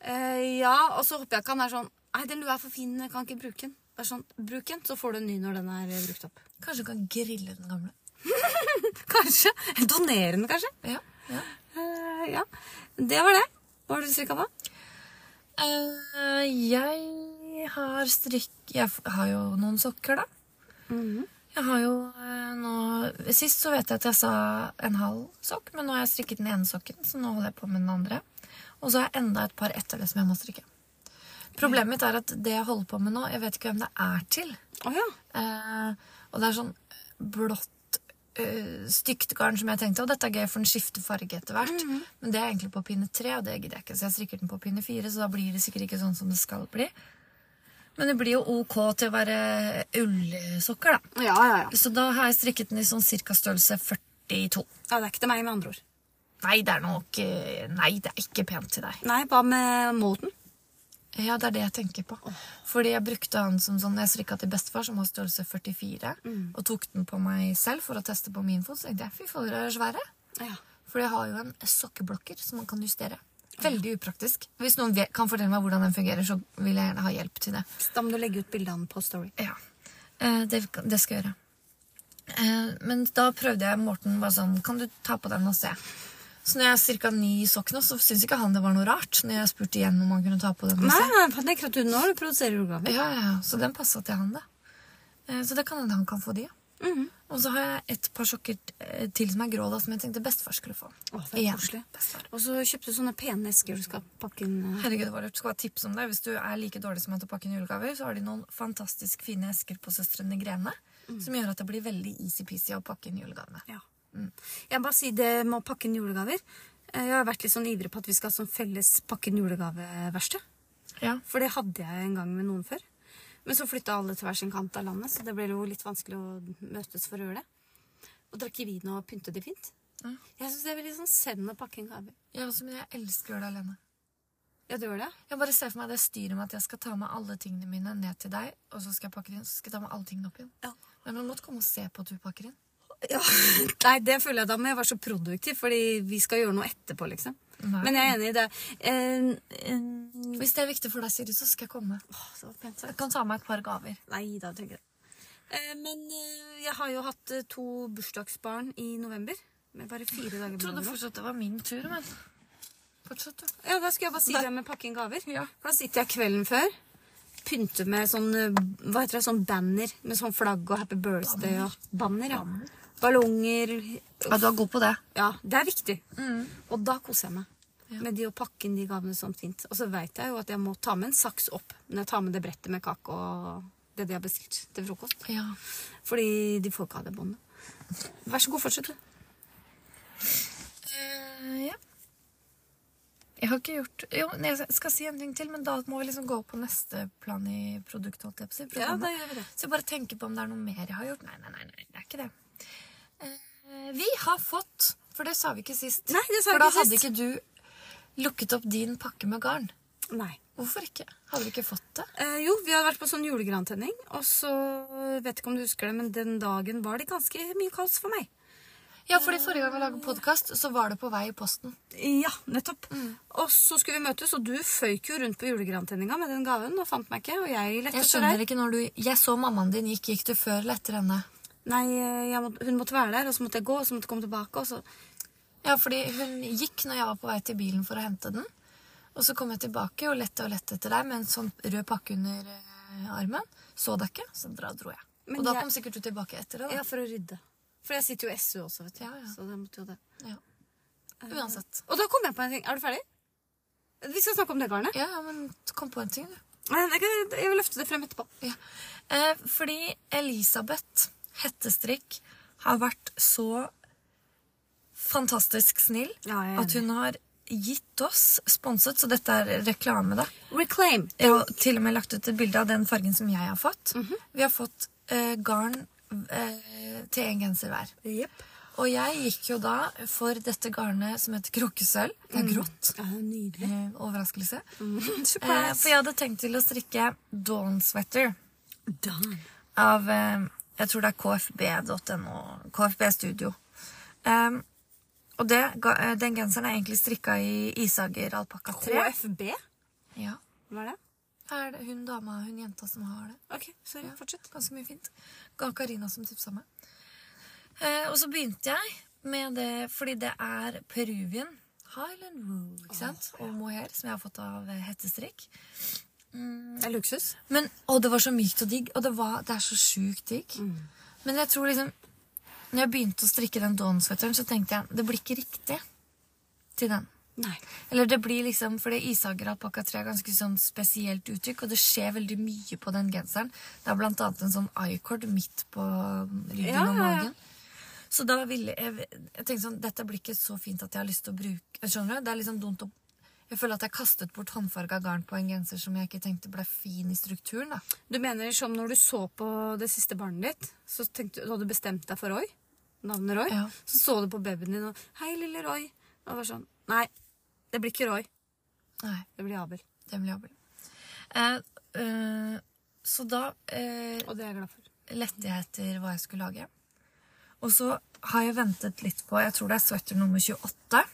Speaker 1: Eh, ja, og så håper jeg ikke han er sånn Nei, den lua er for fin, jeg kan ikke bruke den. Det er sånn, Bruk den, så får du en ny når den er eh, brukt opp.
Speaker 2: Kanskje du kan grille den gamle?
Speaker 1: Kanskje. Donere den, kanskje.
Speaker 2: Ja. ja.
Speaker 1: Eh, ja. Det var det. Hva har du strikka på?
Speaker 2: Eh, jeg har strikk Jeg f- har jo noen sokker, da. Jeg har jo eh, nå Sist så vet jeg at jeg sa en halv sokk, men nå har jeg strikket den ene sokken, så nå holder jeg på med den andre. Og så har jeg enda et par etter det som jeg må strikke. Problemet mitt er at det jeg holder på med nå, jeg vet ikke hvem det er til.
Speaker 1: Å ja.
Speaker 2: Eh, og det er sånn blått, eh, stygt garn som jeg tenkte, og dette er gøy, for den skifter farge etter hvert. Men det er egentlig på pinne tre, og det gidder jeg ikke, så jeg strikker den på pinne fire, så da blir det sikkert ikke sånn som det skal bli. Men det blir jo ok til å være ullsokker, da.
Speaker 1: Ja, ja, ja.
Speaker 2: Så da har jeg strikket den i sånn cirka størrelse 42.
Speaker 1: Ja, Det er ikke til meg, med andre ord.
Speaker 2: Nei, det er nok eh, Nei, det er ikke pent til deg.
Speaker 1: Nei, hva med moten?
Speaker 2: Ja, det er det jeg tenker på. Fordi jeg brukte han som sånn, jeg strikka til bestefar, som har størrelse 44, og tok den på meg selv for å teste på min fot. Så tenkte jeg fy fader, er de svære?
Speaker 1: Ja.
Speaker 2: For jeg har jo en sokkeblokker som man kan justere. Veldig upraktisk. Hvis noen vet, kan fortelle meg hvordan den fungerer, så vil jeg gjerne ha hjelp til det.
Speaker 1: Da må du legge ut bildene på Story.
Speaker 2: Ja, eh, det, det skal jeg gjøre. Eh, men da prøvde jeg Morten var sånn, kan du ta på den og se? Så når jeg cirka ni sokk nå, så syntes ikke han det var noe rart. Når jeg spurte igjen om han kunne ta på den og
Speaker 1: Nei,
Speaker 2: se.
Speaker 1: nei, for det er ikke at du nå produserer julegaver.
Speaker 2: Ja, ja, ja. Så den passa til han, da. Eh, Så det kan hende han kan få de. ja. Og så har jeg et par sokker eh, til som er grå, da, som jeg tenkte bestefar skulle få.
Speaker 1: Å, det er
Speaker 2: Igjen.
Speaker 1: koselig.
Speaker 2: Bestefar.
Speaker 1: Og så kjøpte du sånne pene esker du skal pakke inn. eh.
Speaker 2: Herregud, det var lurt. Skal bare tipse om det. Hvis du er like dårlig som meg til å pakke inn julegaver, så har de noen fantastisk fine esker på Søstrene Grene som gjør at det blir veldig easy-peasy å pakke inn julegavene.
Speaker 1: Ja. Jeg må bare si det med å pakke inn julegaver. Eh, Jeg har vært litt sånn ivrig på at vi skal ha sånn felles pakke inn julegaveverksted.
Speaker 2: Ja.
Speaker 1: For det hadde jeg en gang med noen før. Men så flytta alle til hver sin kant av landet, så det ble jo litt vanskelig å møtes for å gjøre det. Og drikke vin og pynte det fint.
Speaker 2: Ja.
Speaker 1: Jeg syns det er veldig sånn send å pakke inn gaver.
Speaker 2: Jeg også, men jeg elsker å gjøre det alene.
Speaker 1: Ja, du gjør det?
Speaker 2: Jeg bare ser for meg det styret med at jeg skal ta med alle tingene mine ned til deg, og så skal jeg pakke det inn, så skal jeg ta med alle tingene opp igjen.
Speaker 1: Ja.
Speaker 2: Men man måtte komme og se på at du pakker inn.
Speaker 1: Ja. Nei, det føler jeg da må jeg være så produktiv, fordi vi skal gjøre noe etterpå, liksom.
Speaker 2: Nei.
Speaker 1: Men jeg er enig i det. Eh, eh,
Speaker 2: Hvis det er viktig for deg, Siri, så skal jeg komme.
Speaker 1: åh, det var pent sagt.
Speaker 2: Jeg kan ta med et par gaver.
Speaker 1: Nei da, tenker jeg. Eh, Men eh, jeg har jo hatt eh, to bursdagsbarn i november. Med bare fire dager
Speaker 2: Jeg
Speaker 1: på
Speaker 2: trodde
Speaker 1: overhold.
Speaker 2: fortsatt det var min tur, men Fortsett, du.
Speaker 1: Ja, da skulle jeg bare si
Speaker 2: Nei.
Speaker 1: det med pakke inn gaver.
Speaker 2: Ja.
Speaker 1: For da sitter jeg kvelden før, pynter med sånn eh, hva heter det, sånn banner med sånn flagg og Happy Birthday og banner. ja. Ballonger.
Speaker 2: Ja, du er god på det.
Speaker 1: Ja, det er viktig. Og da koser jeg meg. Med de å pakke inn de gavene sånn fint. Og så veit jeg jo at jeg må ta med en saks opp når jeg tar med det brettet med kake og det de har bestilt til frokost.
Speaker 2: Ja.
Speaker 1: Fordi de får ikke av det båndet. Vær så god, fortsett. du.
Speaker 2: Eh, ja. Jeg har ikke gjort Jo, nei, jeg skal si en ting til, men da må vi liksom gå på neste plan i produktet. holdt jeg på å si,
Speaker 1: Ja,
Speaker 2: programmet.
Speaker 1: da gjør vi det.
Speaker 2: Så jeg bare tenker på om det er noe mer jeg har gjort. Nei, nei, nei, nei det er ikke det. Eh, vi har fått For det sa vi ikke sist.
Speaker 1: Nei, det sa vi
Speaker 2: For da
Speaker 1: ikke
Speaker 2: hadde
Speaker 1: sist.
Speaker 2: ikke du lukket opp din pakke med garn.
Speaker 1: Nei.
Speaker 2: Hvorfor ikke? Hadde vi ikke fått det?
Speaker 1: Eh, jo, vi har vært på sånn julegrantenning, og så eh, vet ikke om du husker det, men den dagen var det ganske mye kaos for meg.
Speaker 2: Ja, fordi forrige gang vi laget podkast, så var det på vei i posten.
Speaker 1: Ja, nettopp. Mm. Og så skulle vi møtes, og du føyk jo rundt på julegrantenninga med den gaven og fant meg ikke, og jeg lette etter
Speaker 2: Jeg
Speaker 1: deg.
Speaker 2: skjønner ikke når du Jeg så mammaen din gikk. Gikk du før eller etter henne?
Speaker 1: Nei, eh, jeg må, hun måtte være der, og så måtte jeg gå, og så måtte jeg komme tilbake, og så
Speaker 2: Ja, fordi hun gikk når jeg var på vei til bilen for å hente den. Og så kom jeg tilbake og lette og lette etter deg med en sånn rød pakke under eh, armen. Så deg ikke, så dra dro jeg.
Speaker 1: Men
Speaker 2: og da
Speaker 1: jeg-
Speaker 2: kom sikkert du tilbake etter det.
Speaker 1: Ja,
Speaker 2: da.
Speaker 1: for å rydde. For jeg sitter jo i SU også, vet du.
Speaker 2: Ja, ja.
Speaker 1: Så det måtte jo det.
Speaker 2: Ja. Uansett.
Speaker 1: Og da kom jeg på en ting. Er du ferdig? Vi skal snakke om det garnet.
Speaker 2: Ja, ja, men kom på en ting, du.
Speaker 1: Men Jeg kan- jeg vil løfte det frem etterpå.
Speaker 2: Ja. Eh, fordi Elisabeth Hettestrikk har vært så fantastisk snill
Speaker 1: Ja, jeg er
Speaker 2: at hun har gitt oss sponset, så dette er reklame, da.
Speaker 1: Reclaim.
Speaker 2: Jeg har til og med lagt ut et bilde av den fargen som jeg har fått. Vi har fått eh, garn eh, til en genser hver. Og jeg gikk jo da for dette garnet som heter kråkesølv. Det er grått.
Speaker 1: Ja, det er nydelig.
Speaker 2: Eh, overraskelse. Eh, for
Speaker 1: Surprise.
Speaker 2: jeg hadde tenkt til å strikke Dawn Sweater
Speaker 1: Done.
Speaker 2: av eh, Jeg tror det er kfb.no. KFB Studio. Em, og det, ga- eh, den genseren er egentlig strikka i Isager alpakka 3.
Speaker 1: KFB?
Speaker 2: Ja.
Speaker 1: Hva er det?
Speaker 2: Er det hun dama, hun jenta, som har det?
Speaker 1: Ok, sorry. Fortsett.
Speaker 2: Ganske mye fint. Ga Karina som tipsa meg. Eh, og så begynte jeg med det fordi det er Peruvian Highland Wool ikke sant? og mohair, som jeg har fått av eh, hettestrikk.
Speaker 1: Det er luksus.
Speaker 2: Men, og det var så mykt og digg, og det, var, det er så sjukt digg. Men jeg tror liksom Når jeg begynte å strikke den Dawn-sweateren, så tenkte jeg det blir ikke riktig til den.
Speaker 1: Nei.
Speaker 2: Eller det blir liksom, for det Isager alpakka 3 er ganske sånn spesielt uttrykk, og det skjer veldig mye på den genseren. Det er blant annet en sånn i-cord midt på ryggen
Speaker 1: Ja, ja, ja.
Speaker 2: og magen. Så da ville jeg, jeg tenkte sånn, dette blir ikke så fint at jeg har lyst til å bruke, skjønner du? Det er liksom dumt å, jeg føler at jeg kastet bort håndfarga garn på en genser som jeg ikke tenkte ble fin i strukturen da.
Speaker 1: Du mener som når du så på det siste barnet ditt, så tenkte du, du hadde bestemt deg for Roy, navnet Roy,
Speaker 2: Ja.
Speaker 1: så så du på babyen din og 'Hei, lille Roy', og var sånn 'Nei, det blir ikke Roy.
Speaker 2: Nei,
Speaker 1: Det blir Abel'.
Speaker 2: det blir jobbel. Eh, eh, så da... Eh,
Speaker 1: Og det er jeg glad for.
Speaker 2: lette jeg etter hva jeg skulle lage. Og så har jeg ventet litt på Jeg tror det er sweater nummer 28.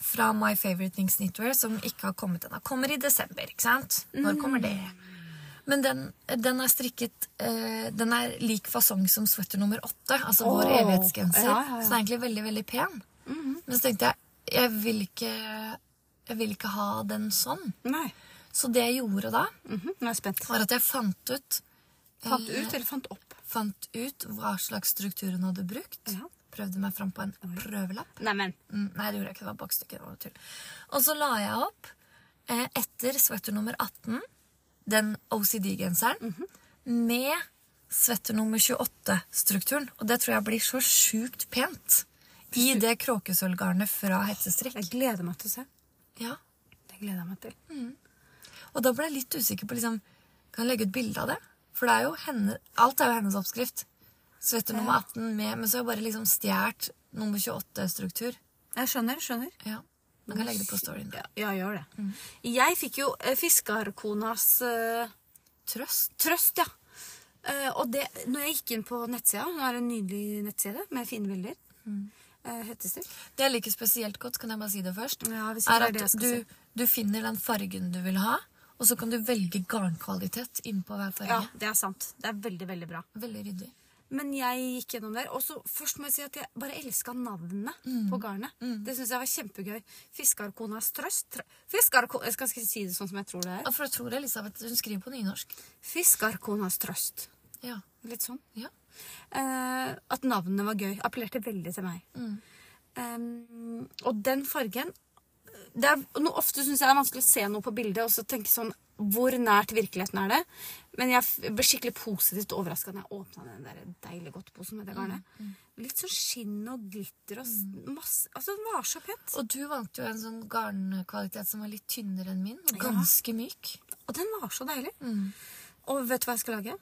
Speaker 2: Fra My Favorite Things Knitwear, som ikke har kommet ennå. Kommer i desember, ikke sant? Når kommer det?
Speaker 1: Mm.
Speaker 2: Men den, den er strikket eh, Den er lik fasong som sweater nummer 8. Altså vår
Speaker 1: Åh,
Speaker 2: evighetsgenser.
Speaker 1: ja, ja, Mm-hmm. ja.
Speaker 2: Så den er egentlig veldig, veldig pen. Men så tenkte jeg jeg vil, ikke, jeg vil ikke ha den sånn.
Speaker 1: Nei.
Speaker 2: Så det jeg gjorde da,
Speaker 1: Mhm, Nå er jeg spent.
Speaker 2: var at jeg fant ut
Speaker 1: Fant ut eller fant opp?
Speaker 2: Fant ut hva slags struktur hun hadde brukt.
Speaker 1: Ja.
Speaker 2: Prøvde meg fram på en prøvelapp.
Speaker 1: Neimen.
Speaker 2: Mm, nei, det gjorde jeg ikke. Det var bakstykke. Det var tull. Og så la jeg opp eh, etter sweater nummer 18, den OCD-genseren, med sweater nummer 28-strukturen. Og det tror jeg blir så sjukt pent i det kråkesølvgarnet fra hettestrikk.
Speaker 1: Jeg gleder meg til å se.
Speaker 2: Ja.
Speaker 1: Det gleder jeg meg til.
Speaker 2: Og da ble jeg litt usikker på liksom, Kan jeg legge ut bilde av det? For det er jo henne, alt er jo hennes oppskrift. Sweater nummer 18 med Men så har jeg bare liksom stjålet nummer 28-struktur.
Speaker 1: Jeg skjønner. skjønner.
Speaker 2: Ja. Man kan legge det på storyen.
Speaker 1: Ja, ja gjør det. Jeg fikk jo eh, fiskerkonas eh,
Speaker 2: Trøst.
Speaker 1: trøst, ja. Eh, og det, når jeg gikk inn på nettsida, hun har en nydelig nettside med fine bilder. Eh, Hettestrikk.
Speaker 2: Det jeg liker spesielt godt, kan jeg bare si det først,
Speaker 1: Ja, hvis ikke
Speaker 2: er
Speaker 1: det er
Speaker 2: at
Speaker 1: det jeg skal
Speaker 2: du, du finner den fargen du vil ha, og så kan du velge garnkvalitet innpå hver farge.
Speaker 1: Ja, det er sant. Det er veldig, veldig bra.
Speaker 2: Veldig ryddig.
Speaker 1: Men jeg gikk gjennom der. Og så først må jeg si at jeg bare elska navnet på garnet. Det syns jeg var kjempegøy. Fiskarkonas trøst. Tr- Fiskarko... Jeg skal ikke si det sånn som jeg tror det
Speaker 2: Ja,
Speaker 1: er.
Speaker 2: for jeg tror Elisabeth hun skriver på nynorsk.
Speaker 1: Fiskarkonas trøst.
Speaker 2: Ja.
Speaker 1: Litt sånn.
Speaker 2: ja.
Speaker 1: Eh, at navnet var gøy. Appellerte veldig til meg.
Speaker 2: Mm.
Speaker 1: Em, og den fargen det er, no, Ofte syns jeg det er vanskelig å se noe på bildet og så tenke sånn Hvor nært virkeligheten er det? Men jeg f- ble skikkelig positivt overraska da jeg åpna den der deilige godtposen med det garnet.
Speaker 2: Mm,
Speaker 1: Litt sånn skinn og glitter og s- masse Altså, den var så pent.
Speaker 2: Og du valgte jo en sånn garnkvalitet som var litt tynnere enn min, og ganske myk.
Speaker 1: Og den var så deilig.
Speaker 2: Mm.
Speaker 1: Og vet du hva jeg skal lage?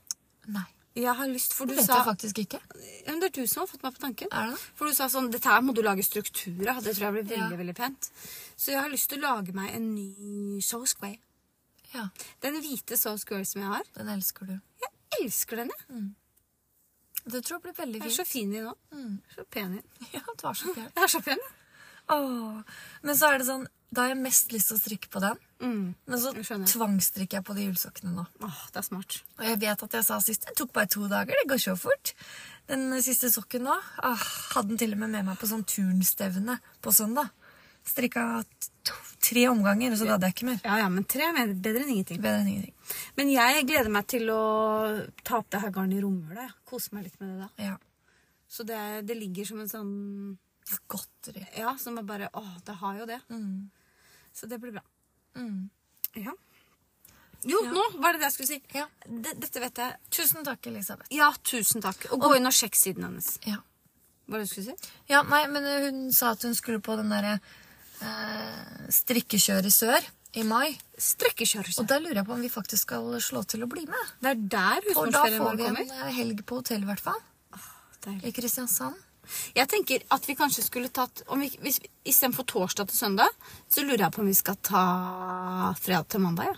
Speaker 2: Nei.
Speaker 1: Jeg har lyst, for du
Speaker 2: Det vet
Speaker 1: sa
Speaker 2: jeg faktisk ikke.
Speaker 1: Ja, men Det er du som har fått meg på tanken.
Speaker 2: Er det det?
Speaker 1: For du sa sånn Dette her må du lage struktur av. Det tror jeg blir veldig
Speaker 2: Ja.
Speaker 1: veldig pent. Så jeg har lyst til å lage meg en ny Show Square.
Speaker 2: Ja,
Speaker 1: Den hvite Show Square som jeg har.
Speaker 2: den elsker du.
Speaker 1: Jeg elsker den, jeg.
Speaker 2: Det tror jeg blir veldig
Speaker 1: Jeg er så
Speaker 2: fint.
Speaker 1: fin i nå. Så pen i den.
Speaker 2: Ja, det var så fint.
Speaker 1: Jeg er så pen, jeg.
Speaker 2: Åh. Men så er det sånn, da har jeg mest lyst til å strikke på den,
Speaker 1: Mm.
Speaker 2: men så
Speaker 1: Jeg skjønner.
Speaker 2: tvangstrikker jeg på de julesokkene nå.
Speaker 1: Åh, det er smart.
Speaker 2: Og jeg vet at jeg sa sist, det tok bare to dager, det går så fort. Den siste sokken nå, ah, hadde den til og med med meg på sånn turnstevne på søndag. Strikka to, tre omganger, og så gadd jeg ikke mer.
Speaker 1: Ja, ja, men tre er mer- bedre enn ingenting.
Speaker 2: Bedre enn ingenting.
Speaker 1: Men jeg gleder meg til å ta opp det her garnet i romjula. jeg. Kose meg litt med det da.
Speaker 2: Ja,
Speaker 1: Så det, det ligger som en sånn
Speaker 2: godteri.
Speaker 1: Ja, som er bare Åh, det har jo det.
Speaker 2: Mm.
Speaker 1: Så det blir bra.
Speaker 2: Mm.
Speaker 1: Ja. Jo, nå var det det jeg skulle si.
Speaker 2: Ja.
Speaker 1: D- Dette vet jeg.
Speaker 2: Tusen takk, Elisabeth.
Speaker 1: Ja, tusen takk. Og gå inn og sjekk siden hennes.
Speaker 2: Ja.
Speaker 1: Hva var det du skulle si?
Speaker 2: Ja, nei, men eh, hun sa at hun skulle på den derre eh, strikkekjøret sør i mai.
Speaker 1: Strekkekjørelse.
Speaker 2: Og da lurer jeg på om vi faktisk skal slå til å bli med.
Speaker 1: Det er der
Speaker 2: For da
Speaker 1: husmorsferien
Speaker 2: får
Speaker 1: vår
Speaker 2: vi en
Speaker 1: kommer.
Speaker 2: eh, helg på hotell, i hvert fall.
Speaker 1: Deilig.
Speaker 2: I Kristiansand.
Speaker 1: Jeg tenker at vi kanskje skulle tatt om vi, hvis, Istedenfor torsdag til søndag, så lurer jeg på om vi skal ta fredag til mandag. Ja.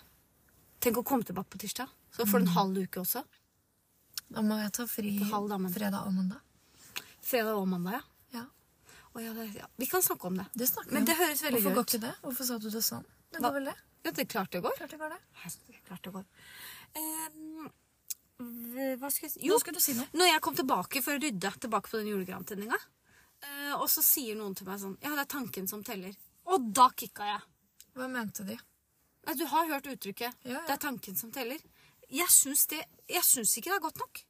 Speaker 1: Tenk å komme tilbake på tirsdag. Så får du en halv uke også.
Speaker 2: Da må jeg ta fri
Speaker 1: halv damen.
Speaker 2: fredag og mandag.
Speaker 1: Fredag og mandag, ja.
Speaker 2: Ja,
Speaker 1: Å, ja, det, ja. Vi kan snakke om det.
Speaker 2: det snakker
Speaker 1: Men
Speaker 2: vi om.
Speaker 1: det høres veldig
Speaker 2: Hvorfor
Speaker 1: gøy
Speaker 2: går
Speaker 1: ut.
Speaker 2: ikke det? Hvorfor sa du det sånn? Det
Speaker 1: Hva?
Speaker 2: går vel det?
Speaker 1: Ja, det er klart det går.
Speaker 2: Klart det går det.
Speaker 1: Herregud, Klart det går. Eh, hva skal jeg si?
Speaker 2: Jo.
Speaker 1: Jo,
Speaker 2: Nå skulle du si noe.
Speaker 1: Når jeg kom tilbake for å rydde tilbake på den julegrantenninga, eh, og så sier noen til meg sånn Ja, det er tanken som teller. Og da kicka jeg.
Speaker 2: Hva mente de?
Speaker 1: Nei, du har hørt uttrykket.
Speaker 2: Ja, ja.
Speaker 1: Det er tanken som teller. Jeg syns, det, jeg syns ikke det er godt nok.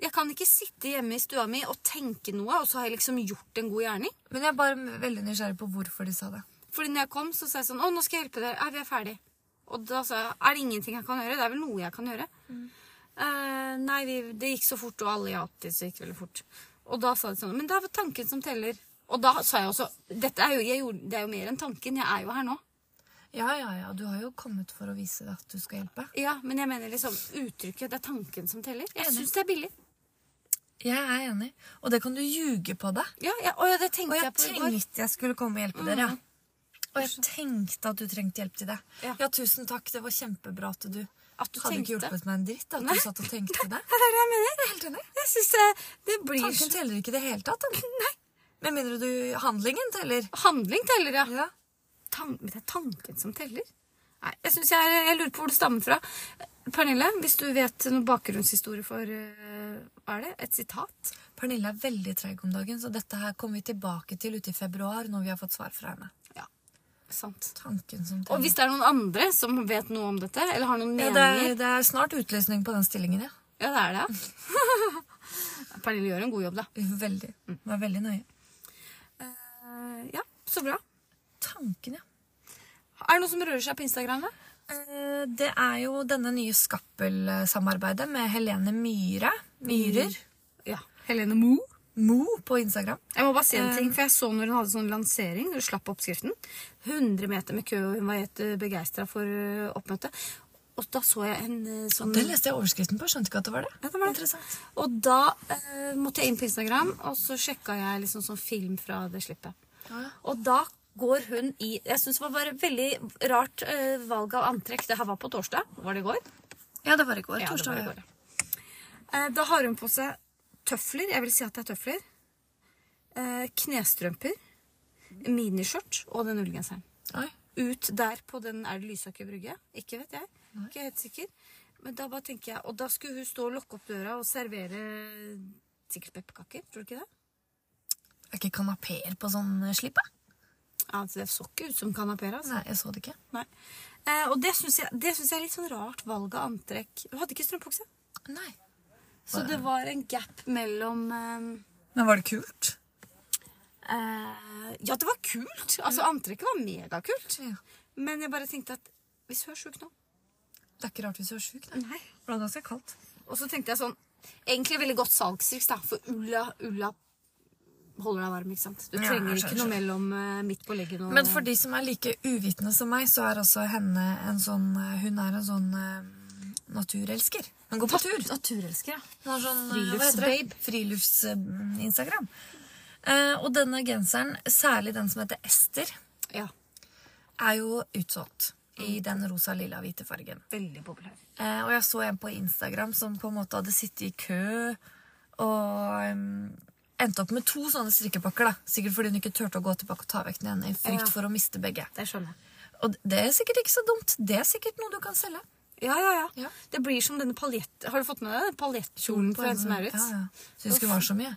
Speaker 1: Jeg kan ikke sitte hjemme i stua mi og tenke noe, og så har jeg liksom gjort en god gjerning.
Speaker 2: Men jeg er bare veldig nysgjerrig på hvorfor de sa det.
Speaker 1: Fordi når jeg kom, så sa jeg sånn Å, nå skal jeg hjelpe dere. Er vi er ferdig? Og da sa jeg Er det ingenting jeg kan gjøre? Det er vel noe jeg kan gjøre?
Speaker 2: Mm.
Speaker 1: «Eh, nei, vi, det gikk så fort, og alle hjalp til, så det gikk veldig fort. Og da sa de sånn Men det er vel tanken som teller. Og da sa jeg også Dette er jo, jeg gjorde, det er jo mer enn tanken. Jeg er jo her nå.
Speaker 2: Ja, ja, ja. Du har jo kommet for å vise deg at du skal hjelpe.
Speaker 1: Ja, Men jeg mener liksom uttrykket Det er tanken som teller. Jeg
Speaker 2: Enig.
Speaker 1: syns det er billig.
Speaker 2: Jeg er enig. Og det kan du ljuge på deg.
Speaker 1: Ja, ja, og ja, det
Speaker 2: Og
Speaker 1: tenkte
Speaker 2: jeg
Speaker 1: jeg på i går.
Speaker 2: tenkte jeg skulle komme og hjelpe dere. ja. Og jeg tenkte at du trengte hjelp til det.
Speaker 1: Ja.
Speaker 2: Ja, tusen takk. Det var kjempebra at du
Speaker 1: At du
Speaker 2: Hadde ikke
Speaker 1: tenkte.
Speaker 2: hjulpet meg en dritt at
Speaker 1: Nei.
Speaker 2: du satt og tenkte det.
Speaker 1: Det er det jeg mener.
Speaker 2: Helt enig.
Speaker 1: Jeg syns det, det blir
Speaker 2: Tanken teller ikke i det hele tatt. Den. Nei. Med mindre du Handlingen teller.
Speaker 1: Handling teller, ja.
Speaker 2: Ja.
Speaker 1: tan men det er tanken som teller. Nei, jeg, synes jeg, jeg lurer på hvor det stammer fra. Pernille, hvis du vet noen bakgrunnshistorie for eh, Hva er det? Et sitat?
Speaker 2: Pernille er veldig treig om dagen, så dette her kommer vi tilbake til ute i februar når vi har fått svar fra henne.
Speaker 1: Ja. Sant.
Speaker 2: Tanken som
Speaker 1: Og
Speaker 2: teller.
Speaker 1: hvis det er noen andre som vet noe om dette, eller har noen
Speaker 2: ja,
Speaker 1: meninger
Speaker 2: det, er, det er snart utlysning på den stillingen, ja.
Speaker 1: Ja, det er det. Pernille gjør en god jobb, da.
Speaker 2: Veldig. Var veldig nøye.
Speaker 1: Eh, ja, så bra.
Speaker 2: Tanken, ja.
Speaker 1: Er det noe som rører seg på Instagram? da?
Speaker 2: Eh, Det er jo denne nye Skappel-samarbeidet med Helene Myhre. Myhrer.
Speaker 1: Ja. Helene Moe.
Speaker 2: Mo på Instagram.
Speaker 1: Jeg må bare si
Speaker 2: Eh.
Speaker 1: en ting, for jeg så når hun hadde sånn lansering, når hun slapp oppskriften. 100 meter med kø, og hun var helt begeistra for eh, oppmøtet. Og da så jeg en eh, sånn
Speaker 2: Det leste jeg overskriften på. Skjønte ikke at det var Mm. det.
Speaker 1: Ja, det var det.
Speaker 2: Interessant.
Speaker 1: Og da eh, måtte jeg inn på Instagram, og så sjekka jeg liksom sånn film fra det slippet.
Speaker 2: Ja.
Speaker 1: Og da går hun i Jeg syns det var bare veldig rart eh, valg av antrekk. Det her var på torsdag. Var det i går?
Speaker 2: Ja, det var i går.
Speaker 1: Ja, det
Speaker 2: torsdag.
Speaker 1: var i går, ja. Eh, Da har hun på seg tøfler. Jeg vil si at det er tøfler. Eh, Knestrømper. Miniskjørt og den ullgenseren.
Speaker 2: Oi.
Speaker 1: Ut der på den Er det Lysaker brygge? Ikke vet jeg. Ikke helt sikker. Men da bare tenker jeg Og da skulle hun stå og lokke opp døra og servere sikkert pepperkaker. Tror du ikke det?
Speaker 2: Er ikke kanapeer på sånn eh, slipp? da?
Speaker 1: Ja, altså, det så ikke ut som kanapeer. Altså.
Speaker 2: Nei, jeg så det ikke.
Speaker 1: Nei. Eh, og det syns jeg, det syns jeg er litt sånn rart valg av antrekk. Hun hadde ikke strømpukse.
Speaker 2: Nei.
Speaker 1: Så det var en gap mellom eh,
Speaker 2: Men var det kult?
Speaker 1: Eh, ja, det var kult. Altså, Antrekket var megakult.
Speaker 2: Ja.
Speaker 1: Men jeg bare tenkte at hvis hun er sjuk nå
Speaker 2: Det er ikke rart hvis du er sjuk. da.
Speaker 1: Nei.
Speaker 2: Det var ganske kaldt.
Speaker 1: Og så tenkte jeg sånn Egentlig veldig godt salgstriks, da. For ulla, ulla holder deg varm, ikke sant. Du
Speaker 2: Ja,
Speaker 1: trenger
Speaker 2: jeg skjønner,
Speaker 1: ikke noe mellom eh, midt på leggen og
Speaker 2: Men for de som er like uvitende som meg, så er også henne en sånn eh, Hun er en sånn eh, naturelsker. Hun går på tur.
Speaker 1: Naturelsker, ja.
Speaker 2: Hun har sånn
Speaker 1: Friluftsbabe.
Speaker 2: Frilufts-Instagram. Eh, og denne genseren, særlig den som heter Ester,
Speaker 1: Ja,
Speaker 2: er jo utsolgt
Speaker 1: Mm.
Speaker 2: i den rosa, lilla, hvite fargen.
Speaker 1: Veldig populær.
Speaker 2: Eh, og jeg så en på Instagram som på en måte hadde sittet i kø og em, endte opp med to sånne strikkepakker. da. Sikkert fordi hun ikke turte å gå tilbake og ta vekk den ene i frykt
Speaker 1: Ja.
Speaker 2: for å miste begge.
Speaker 1: Det skjønner jeg.
Speaker 2: Og det er sikkert ikke så dumt. Det er sikkert noe du kan selge.
Speaker 1: Ja, ja, ja.
Speaker 2: Ja.
Speaker 1: Det blir som denne paljett... Har du fått med deg den paljettkjolen for en som er ute?
Speaker 2: Ja, ja. Syns ikke det var så mye.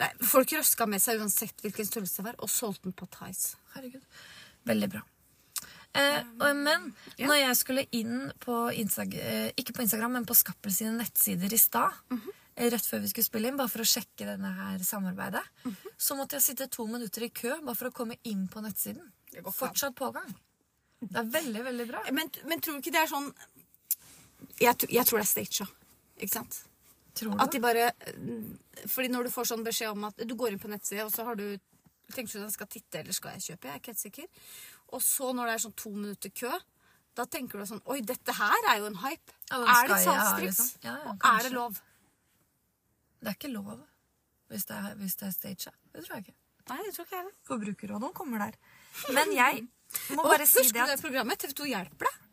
Speaker 1: Nei, Folk røska med seg uansett hvilken størrelse det var, og solgte den på Tice.
Speaker 2: Herregud. Veldig bra. Eh, og, men
Speaker 1: ja.
Speaker 2: når jeg skulle inn på Instag eh, ikke på Instagram, men på Skappel sine nettsider i stad, eh, rett før vi skulle spille inn, bare for å sjekke denne her samarbeidet, så måtte jeg sitte to minutter i kø bare for å komme inn på nettsiden.
Speaker 1: Det går faen.
Speaker 2: Fortsatt pågang. Det er veldig, veldig bra.
Speaker 1: Men, men tror du ikke det er sånn Jeg, tr- jeg tror det er staged, ikke sant?
Speaker 2: Tror
Speaker 1: At
Speaker 2: du?
Speaker 1: de bare Fordi når du får sånn beskjed om at du går inn på nettside, og så har du Tenker du at jeg skal titte, eller skal jeg kjøpe? Jeg er ikke helt sikker. Og så når det er sånn to minutter kø, da tenker du sånn Oi, dette her er jo en hype.
Speaker 2: Ja, den
Speaker 1: er det
Speaker 2: skal jeg ha,
Speaker 1: salgstriks?
Speaker 2: liksom. Ja, ja,
Speaker 1: og
Speaker 2: kanskje.
Speaker 1: er det lov?
Speaker 2: Det er ikke lov hvis det er, hvis det er staged. Det tror jeg ikke.
Speaker 1: Nei, det tror ikke jeg heller.
Speaker 2: Forbrukerrådet kommer der. Men jeg må
Speaker 1: Og
Speaker 2: bare si
Speaker 1: husker du
Speaker 2: det at
Speaker 1: det programmet? TV2 hjelper deg?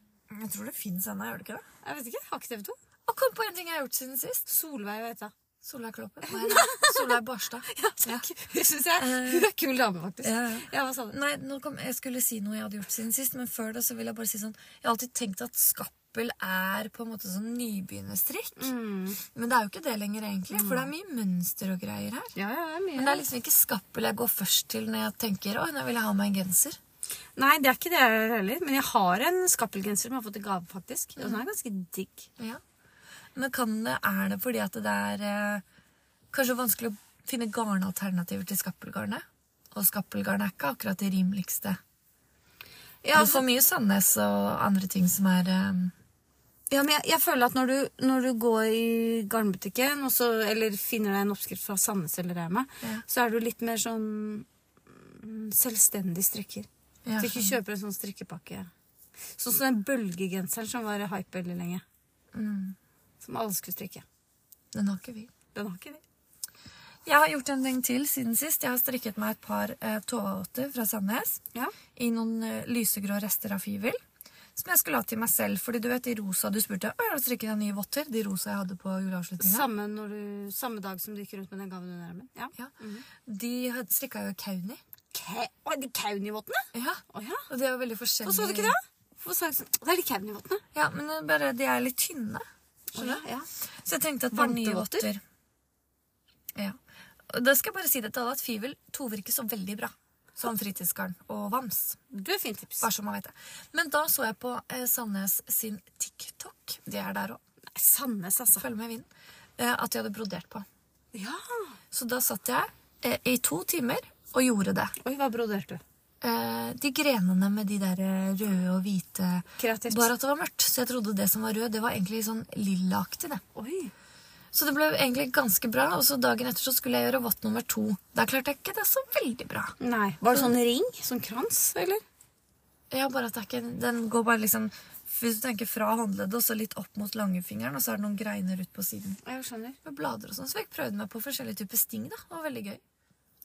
Speaker 2: Jeg tror det fins ennå, gjør det ikke det?
Speaker 1: Jeg vet ikke. Har ikke TV2?
Speaker 2: Og kom på en ting jeg har gjort siden sist.
Speaker 1: Solveig, vet jeg.
Speaker 2: Solveig Kloppen. Nei, nei. Solveig Barstad. Ja.
Speaker 1: Hun syns jeg Hun er en kul dame, faktisk.
Speaker 2: Ja, ja.
Speaker 1: Ja, hva sa du?
Speaker 2: Nei, nå kom, jeg skulle si noe jeg hadde gjort siden sist, men før det så vil jeg bare si sånn Jeg har alltid tenkt at Skappel er på en måte sånn nybegynnerstrikk.
Speaker 1: Mm.
Speaker 2: Men det er jo ikke det lenger, egentlig. For det er mye mønster og greier her.
Speaker 1: Ja, ja, mye.
Speaker 2: Men det er liksom ikke Skappel jeg går først til når jeg tenker Oi, nå vil jeg ha meg en genser.
Speaker 1: Nei, det er ikke det jeg gjør heller. Men jeg har en skappelgenser som jeg har fått i gave, faktisk. Og den er ganske digg.
Speaker 2: Ja. Men kan det, er det fordi at det er eh, kanskje vanskelig å finne garnalternativer til Skappelgarnet? Og Skappelgarnet er ikke akkurat det rimeligste.
Speaker 1: Ja,
Speaker 2: du får mye Sandnes og andre ting som er eh,
Speaker 1: altså, ja, men jeg, jeg føler at når du, når du går i garnbutikken, og så- eller finner deg en oppskrift fra Sandnes eller Rema,
Speaker 2: Ja.
Speaker 1: så er du litt mer sånn mm, selvstendig strikker.
Speaker 2: Ja,
Speaker 1: At du ikke kjøper en sånn strikkepakke. Sånn som den bølgegenseren som var hype veldig lenge. Mm. Som alle skulle strikke.
Speaker 2: Den har ikke vi.
Speaker 1: Den har ikke vi.
Speaker 2: Jeg har gjort en ting til siden sist. Jeg har strikket meg et par eh, tååtter fra Sandnes.
Speaker 1: Ja.
Speaker 2: I noen eh, lysegrå rester av fivel. Som jeg skulle ha til meg selv. Fordi du vet de rosa du spurte om, har du strikket deg nye votter? De rosa jeg hadde på juleavslutninga.
Speaker 1: Samme, når du, samme dag som du gikk rundt med den gaven under armen. Ja.
Speaker 2: Ja. De had- strikka jo kauni.
Speaker 1: Ka Å, de kaunivottene?
Speaker 2: Ja.
Speaker 1: Å ja.
Speaker 2: Og de er jo veldig forskjellige.
Speaker 1: Hvorfor så du ikke det? Hvorfor sa du ikke sånn? Det er litt kaunivottene.
Speaker 2: Ja, men det er bare, de er litt tynne. Skjønner du?
Speaker 1: Ja.
Speaker 2: Så jeg tenkte at bare nye
Speaker 1: Vantevotter?
Speaker 2: votter. Ja. Og da skal jeg bare si dette, at fivel tovirker så veldig bra. Som fritidsgarn og vams.
Speaker 1: Du er fint tips.
Speaker 2: Bare så man vet det. Men da så jeg på eh, Sandnes sin TikTok. De er der òg.
Speaker 1: Nei, Sandnes, altså.
Speaker 2: følg med i vinden, eh, at jeg hadde brodert på.
Speaker 1: Ja.
Speaker 2: Så da satt jeg eh, i to timer og gjorde det.
Speaker 1: Oi, hva broderte du?
Speaker 2: Eh, de grenene med de der eh, røde og hvite
Speaker 1: Kreativt.
Speaker 2: Bare at det var mørkt. Så jeg trodde det som var rød, det var egentlig sånn lillaaktig. det.
Speaker 1: Oi.
Speaker 2: Så det ble egentlig ganske bra. Og så dagen etter så skulle jeg gjøre vått nummer to. Da klarte jeg ikke det så veldig bra.
Speaker 1: Nei. Var det sånn ring? Sånn krans, eller?
Speaker 2: Ja, bare at det er ikke, den går bare liksom Hvis du tenker fra håndleddet og så litt opp mot langfingeren, og så er det noen greiner ut på siden.
Speaker 1: Jeg skjønner.
Speaker 2: Med blader og sånn, så jeg prøvde meg på forskjellige typer sting. da, Det var veldig gøy.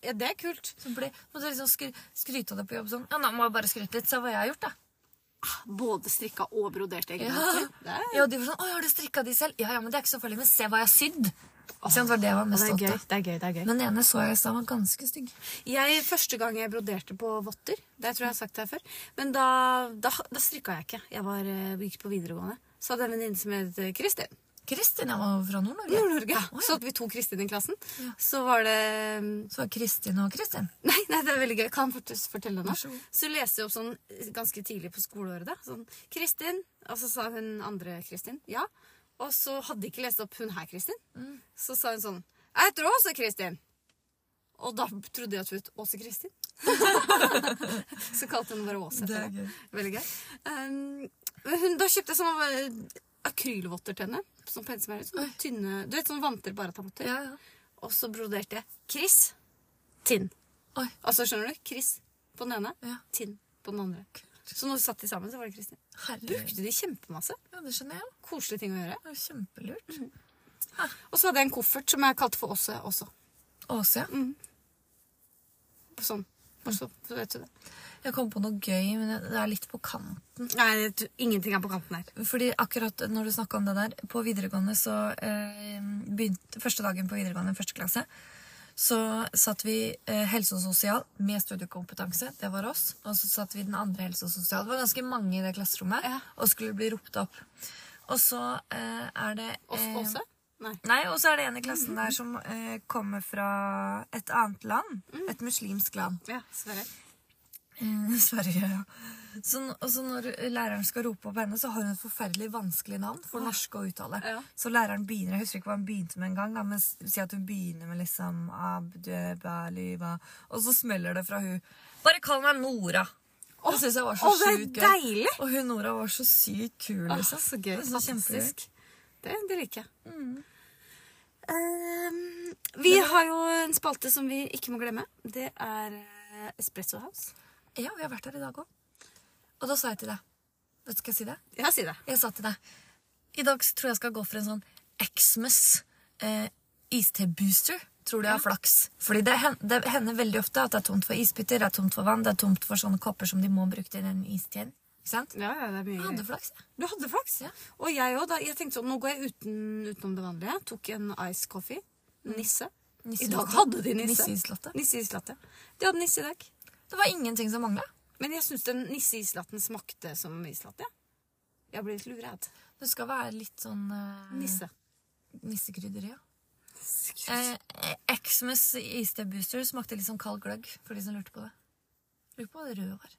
Speaker 1: Ja, det er kult.
Speaker 2: Så ble, måtte jeg liksom skry, skryte av det på jobb sånn. Ja, nå må jeg bare skryte litt, se hva jeg har gjort, da.
Speaker 1: Både strikka og brodert egne
Speaker 2: Ja. ja, og de var sånn, Oi, har du strikka de selv? Ja, ja, men det er ikke så farlig, men se hva jeg har sydd! Ikke sant, var det jeg var mest stolt av.
Speaker 1: det er gøy. det er gøy.
Speaker 2: Men den ene så jeg i stad var ganske stygg.
Speaker 1: Jeg, første gang jeg broderte på votter, det tror jeg jeg har sagt det her før, men da, da, da strikka jeg ikke. Jeg var, eh, gikk på videregående. Så hadde jeg en venninne som het eh, Kristin.
Speaker 2: Kristin, jeg var fra Nord-Norge.
Speaker 1: Nord-Norge.
Speaker 2: Å, ja.
Speaker 1: Så hadde vi to Kristin i klassen. Så var det Nei,
Speaker 2: Så var Kristin og Kristin.
Speaker 1: nei, det er veldig gøy. Kan jeg faktisk fortelle henne.
Speaker 2: Vær så god.
Speaker 1: Så leste jeg opp sånn eh, ganske tidlig på skoleåret. da, sånn, 'Kristin', og så sa hun andre Kristin ja. Og så hadde jeg ikke lest opp hun her, Kristin.
Speaker 2: Mm.
Speaker 1: Så sa hun sånn 'Jeg heter Åse Kristin'. Og da trodde jeg at hun het Åse Kristin. så kalte hun bare Åse
Speaker 2: Det
Speaker 1: etter
Speaker 2: er
Speaker 1: det.
Speaker 2: gøy.
Speaker 1: Veldig gøy. Um, men hun, da kjøpte jeg sånne eh, akrylvotter til henne. Som penselsmør. Sånne tynne Du vet sånne vanter bare av votter.
Speaker 2: Ja, ja.
Speaker 1: Og så broderte jeg Chris Tinn.
Speaker 2: Oi.
Speaker 1: Altså, skjønner du? Chris på den ene,
Speaker 2: Ja.
Speaker 1: Tinn på den andre. Så når vi satt de sammen, så var det Kristin.
Speaker 2: Herregud.
Speaker 1: Brukte de kjempemasse.
Speaker 2: Ja, det skjønner jeg.
Speaker 1: Koselige ting å gjøre.
Speaker 2: Det var kjempelurt.
Speaker 1: Og så hadde jeg en koffert som jeg kalte for Åse også.
Speaker 2: Åse, ja.
Speaker 1: Sånn. Bare så, så vet du det.
Speaker 2: Jeg kom på noe gøy, men det er litt på kanten.
Speaker 1: Nei, du- ingenting er på kanten her.
Speaker 2: Fordi akkurat når du snakket om det der, på videregående så eh, begynte første dagen på videregående, første klasse, så satt vi eh, helse og sosial med studiekompetanse, det var oss, og så satt vi den andre helse og sosial. Det var ganske mange i det klasserommet,
Speaker 1: Ja.
Speaker 2: og skulle bli ropt opp. Og så eh, er det...
Speaker 1: Ås,
Speaker 2: eh,
Speaker 1: Åse? Nei.
Speaker 2: Nei, og så er det en i klassen der som eh, kommer fra et annet land, et muslimsk land.
Speaker 1: Ja, Sverre.
Speaker 2: Eh, Sverige, ja. Så, n- og så når læreren skal rope opp henne, så har hun et forferdelig vanskelig navn for norsk å uttale.
Speaker 1: Ja.
Speaker 2: Så læreren begynner, jeg husker ikke hva hun begynte med en gang, da, men s- si at hun begynner med liksom Abdebaliva, og så smeller det fra hun. Bare kall meg Nora! det synes jeg var så
Speaker 1: Å, det er
Speaker 2: sjukt
Speaker 1: deilig!
Speaker 2: Og hun Nora var så sykt kul,
Speaker 1: Åh,
Speaker 2: liksom.
Speaker 1: Ah, så Mm. gøy.
Speaker 2: Det er så kjempegøy.
Speaker 1: Fantastisk. Det, det liker jeg. Eh, vi har jo en spalte som vi ikke må glemme. Det er eh, Espresso House.
Speaker 2: Ja, vi har vært her i dag òg. Og da sa jeg til deg Vet du hva jeg si det?
Speaker 1: Ja, si det.
Speaker 2: Jeg sa til deg I dag så tror jeg jeg skal gå for en sånn Xmas eh, iste-booster. Tror du jeg har flaks. Fordi det, hen- det hender veldig ofte at det er tomt for isbiter, det er tomt for vann, det er tomt for sånne kopper som de må bruke til den isteen. Ikke sant?
Speaker 1: Ja, ja, Ah, det er mye
Speaker 2: Jeg
Speaker 1: greier.
Speaker 2: hadde flaks, jeg.
Speaker 1: Du hadde flaks.
Speaker 2: Ja.
Speaker 1: Og jeg òg. Jeg tenkte sånn, nå går jeg uten, utenom det vanlige. Tok en ice coffee. Mm. Nisse. I dag hadde de nisse.
Speaker 2: Nisseislatte.
Speaker 1: Nisseislatte. De hadde nisse i dag.
Speaker 2: Det var ingenting som mangla.
Speaker 1: Men jeg syns den nisseislatten smakte som islatte. Jeg ble litt luredd.
Speaker 2: Det skal være litt sånn eh,
Speaker 1: Nisse.
Speaker 2: nissekrydder, ja. Eh, eh, Xmas iste-booster smakte litt som kald gløgg, for de som lurte på det. Lurer på hva det røde var.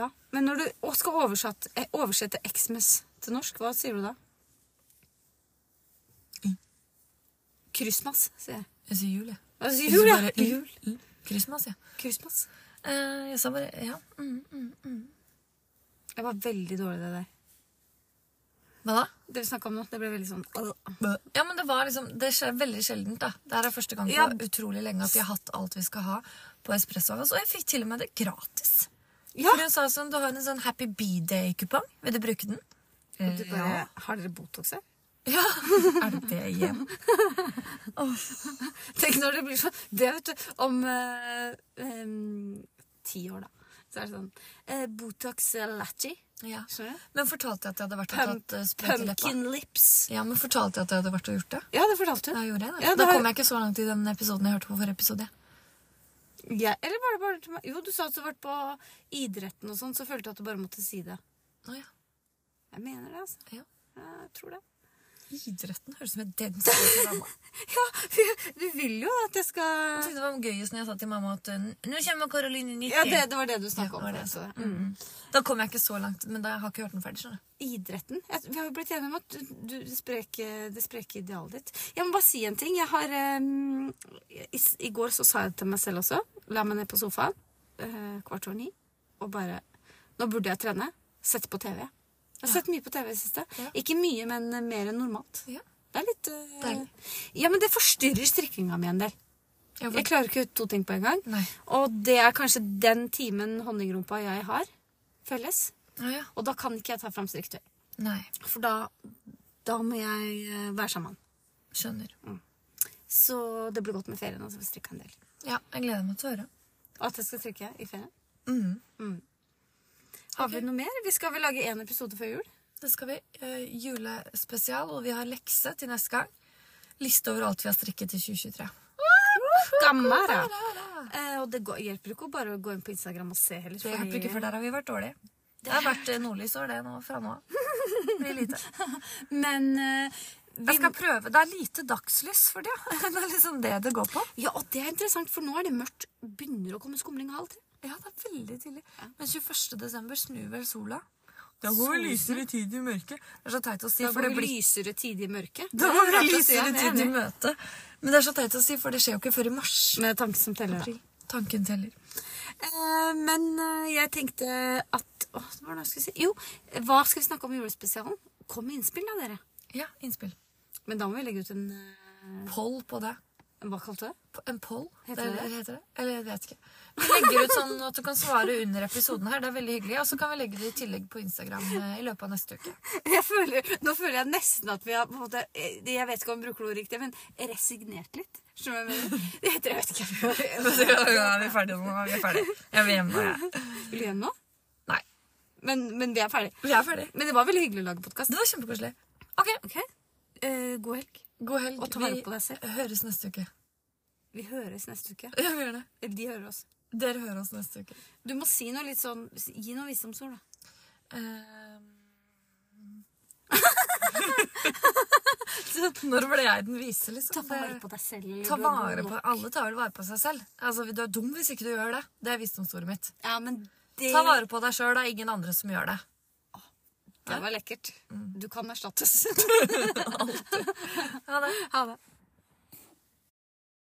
Speaker 1: Ja. Men når du å, skal oversatt, eh, oversette Xmas til norsk, hva sier du da? Kryssmas, sier jeg.
Speaker 2: Jeg sier jul, jeg.
Speaker 1: Hva sier du,
Speaker 2: Jeg sier
Speaker 1: da?
Speaker 2: bare
Speaker 1: Jul.
Speaker 2: jul. Mm. Christmas, ja.
Speaker 1: Kryssmas.
Speaker 2: Eh, jeg sa bare ja. Mm, mm.
Speaker 1: Jeg var veldig dårlig i det der.
Speaker 2: Hva da?
Speaker 1: Dere snakka om noe, det ble veldig sånn øh.
Speaker 2: Ja, men Det var liksom, det skjer veldig sjeldent. da. Det her er første gang på
Speaker 1: Ja.
Speaker 2: utrolig lenge at vi har hatt alt vi skal ha på Espresso. House, Og jeg fikk til og med det gratis.
Speaker 1: Ja!
Speaker 2: For hun sa sånn, du har en sånn Happy B-day-kupong. Vil du bruke den?
Speaker 1: Du bare, Har dere Botox her?
Speaker 2: Ja. Er det det igjen?
Speaker 1: Tenk når det blir sånn Det vet du, om eh, em, ti år, da. Så er det sånn eh, Botox lachi.
Speaker 2: Ja.
Speaker 1: Skjønner du?
Speaker 2: Men fortalte jeg at jeg hadde vært og
Speaker 1: Pum,
Speaker 2: tatt eh, sprøyte i leppa?
Speaker 1: pumpkin lips.
Speaker 2: Ja, men fortalte jeg at jeg hadde vært og gjort det?
Speaker 1: Ja, det fortalte
Speaker 2: Da
Speaker 1: hun.
Speaker 2: gjorde jeg det.
Speaker 1: Ja, det
Speaker 2: da
Speaker 1: har-
Speaker 2: kom jeg ikke så langt i den episoden jeg hørte på forrige episode.
Speaker 1: Ja, eller var det bare til meg? Jo, du sa at du har vært på idretten og sånn, så følte jeg at du bare måtte si det.
Speaker 2: Å, ja.
Speaker 1: Jeg mener det, altså.
Speaker 2: Ja.
Speaker 1: Jeg tror det.
Speaker 2: Idretten høres ut som et dance-program.
Speaker 1: Ja, for du vil jo at jeg
Speaker 2: Jeg
Speaker 1: skal
Speaker 2: syntes det var gøyest når jeg sa til mamma at eh, nå kommer Caroline 90.
Speaker 1: Ja, det, det var det du snakka
Speaker 2: Ja,
Speaker 1: om.
Speaker 2: det var det.
Speaker 1: altså.
Speaker 2: Mm. Da kom jeg ikke så langt, men da jeg har ikke hørt den ferdig. skjønner du.
Speaker 1: Idretten. Jeg, vi har jo blitt enige om at du, du det spreke, det spreke idealet ditt Jeg må bare si en ting. Jeg har em, i, I går så sa jeg til meg selv også La meg ned på sofaen eh, kvart over ni og bare Nå burde jeg trene. Sett på TV. Jeg har sett mye på TV i det siste.
Speaker 2: Ja.
Speaker 1: Ikke mye, men eh, mer enn normalt.
Speaker 2: Ja.
Speaker 1: Det er litt eh,
Speaker 2: Deilig.
Speaker 1: Ja, men det forstyrrer strikkinga mi en del.
Speaker 2: Ja, for-
Speaker 1: Jeg klarer ikke to ting på en gang.
Speaker 2: Nei.
Speaker 1: Og det er kanskje den timen honningrumpa og jeg har felles.
Speaker 2: Å, ja.
Speaker 1: Og da kan ikke jeg ta fram striktøy.
Speaker 2: Nei.
Speaker 1: For da, da må jeg eh, være sammen.
Speaker 2: Skjønner.
Speaker 1: Så det blir godt med ferien. Altså, for å strikke en del.
Speaker 2: Ja, jeg gleder meg til å høre.
Speaker 1: Og at jeg skal strikke i ferien.
Speaker 2: Mm.
Speaker 1: Har vi noe mer? Vi skal vel lage én episode før jul?
Speaker 2: Det skal vi. eh, julespesial, og vi har lekse til neste gang. Liste over alt vi har strikket i 2023.
Speaker 1: Gammara! Eh, og det går, hjelper ikke å bare å gå inn på Instagram og se heller.
Speaker 2: Det
Speaker 1: fordi-
Speaker 2: hjelper ikke, for der har vi vært dårlige. Det har vært eh, nordlysår, det, nå fra nå av. Det Blir lite.
Speaker 1: Men eh, vi,
Speaker 2: Jeg skal prøve. Det er lite dagslys for det. Det er liksom det det går på.
Speaker 1: Ja, og det er interessant, for nå er det mørkt. Begynner å komme skumring halv tre.
Speaker 2: Ja, det er veldig tidlig. Men 21. desember snur vel sola? Da
Speaker 1: går vi lysere
Speaker 2: tid i mørket. Det er så teit å si,
Speaker 1: Da
Speaker 2: for
Speaker 1: går
Speaker 2: det
Speaker 1: vi
Speaker 2: blir
Speaker 1: lysere tid i mørket.
Speaker 2: Da
Speaker 1: Det
Speaker 2: går
Speaker 1: er
Speaker 2: vi
Speaker 1: rart å si,
Speaker 2: lysere
Speaker 1: jeg er
Speaker 2: tid i
Speaker 1: enig.
Speaker 2: møte. Men det er så teit å si, for det skjer jo ikke før i mars.
Speaker 1: Men det er tanken som teller, da.
Speaker 2: April. Tanken teller.
Speaker 1: Eh, men eh, jeg tenkte at Åh, hva var det jeg skulle si? Jo, hva skal vi snakke om i julespesialen? Kom med innspill, da, dere.
Speaker 2: Ja, innspill.
Speaker 1: Men da må vi legge ut en eh,
Speaker 2: Poll på det.
Speaker 1: Hva kalte du det?
Speaker 2: På- En poll?
Speaker 1: Heter det
Speaker 2: det,
Speaker 1: det?
Speaker 2: eller heter det? Eller jeg vet ikke. Vi legger ut sånn at du kan svare under episoden her. Det er veldig hyggelig. Og så kan vi legge det i tillegg på Instagram eh, i løpet av neste uke.
Speaker 1: Jeg føler, nå føler jeg nesten at vi har på en måte, eh, Jeg vet ikke om jeg bruker ordet riktig, men resignert litt. Skjønner du hva jeg mener? Det heter jeg vet ikke.
Speaker 2: er vi ferdige nå. Vi er ferdige. Jeg vil hjem nå, jeg.
Speaker 1: Vil du hjem nå?
Speaker 2: Nei.
Speaker 1: Men, men vi er ferdige.
Speaker 2: Vi er ferdige.
Speaker 1: Men det var veldig hyggelig å lage podkast.
Speaker 2: Det var kjempekoselig. OK.
Speaker 1: Eh, god helg.
Speaker 2: God helg.
Speaker 1: Og ta vare
Speaker 2: Vi
Speaker 1: på deg selv.
Speaker 2: høres neste uke.
Speaker 1: Vi høres neste uke.
Speaker 2: Ja, vi gjør det.
Speaker 1: Eller de hører oss.
Speaker 2: Dere hører oss neste uke.
Speaker 1: Du må si noe litt sånn Gi noe visdomsord, da. Ehm.
Speaker 2: Når ble jeg den vise, liksom?
Speaker 1: Ta vare på deg selv. eller
Speaker 2: Ta
Speaker 1: du er god
Speaker 2: vare
Speaker 1: nok.
Speaker 2: på Alle tar vel vare på seg selv. Altså, Du er dum hvis ikke du gjør det. Det er visdomsordet mitt.
Speaker 1: Ja, men det,
Speaker 2: Ta vare på deg sjøl. Det er ingen andre som gjør det.
Speaker 1: det var lekkert. Du kan erstattes.
Speaker 2: Ha det.
Speaker 1: ha det.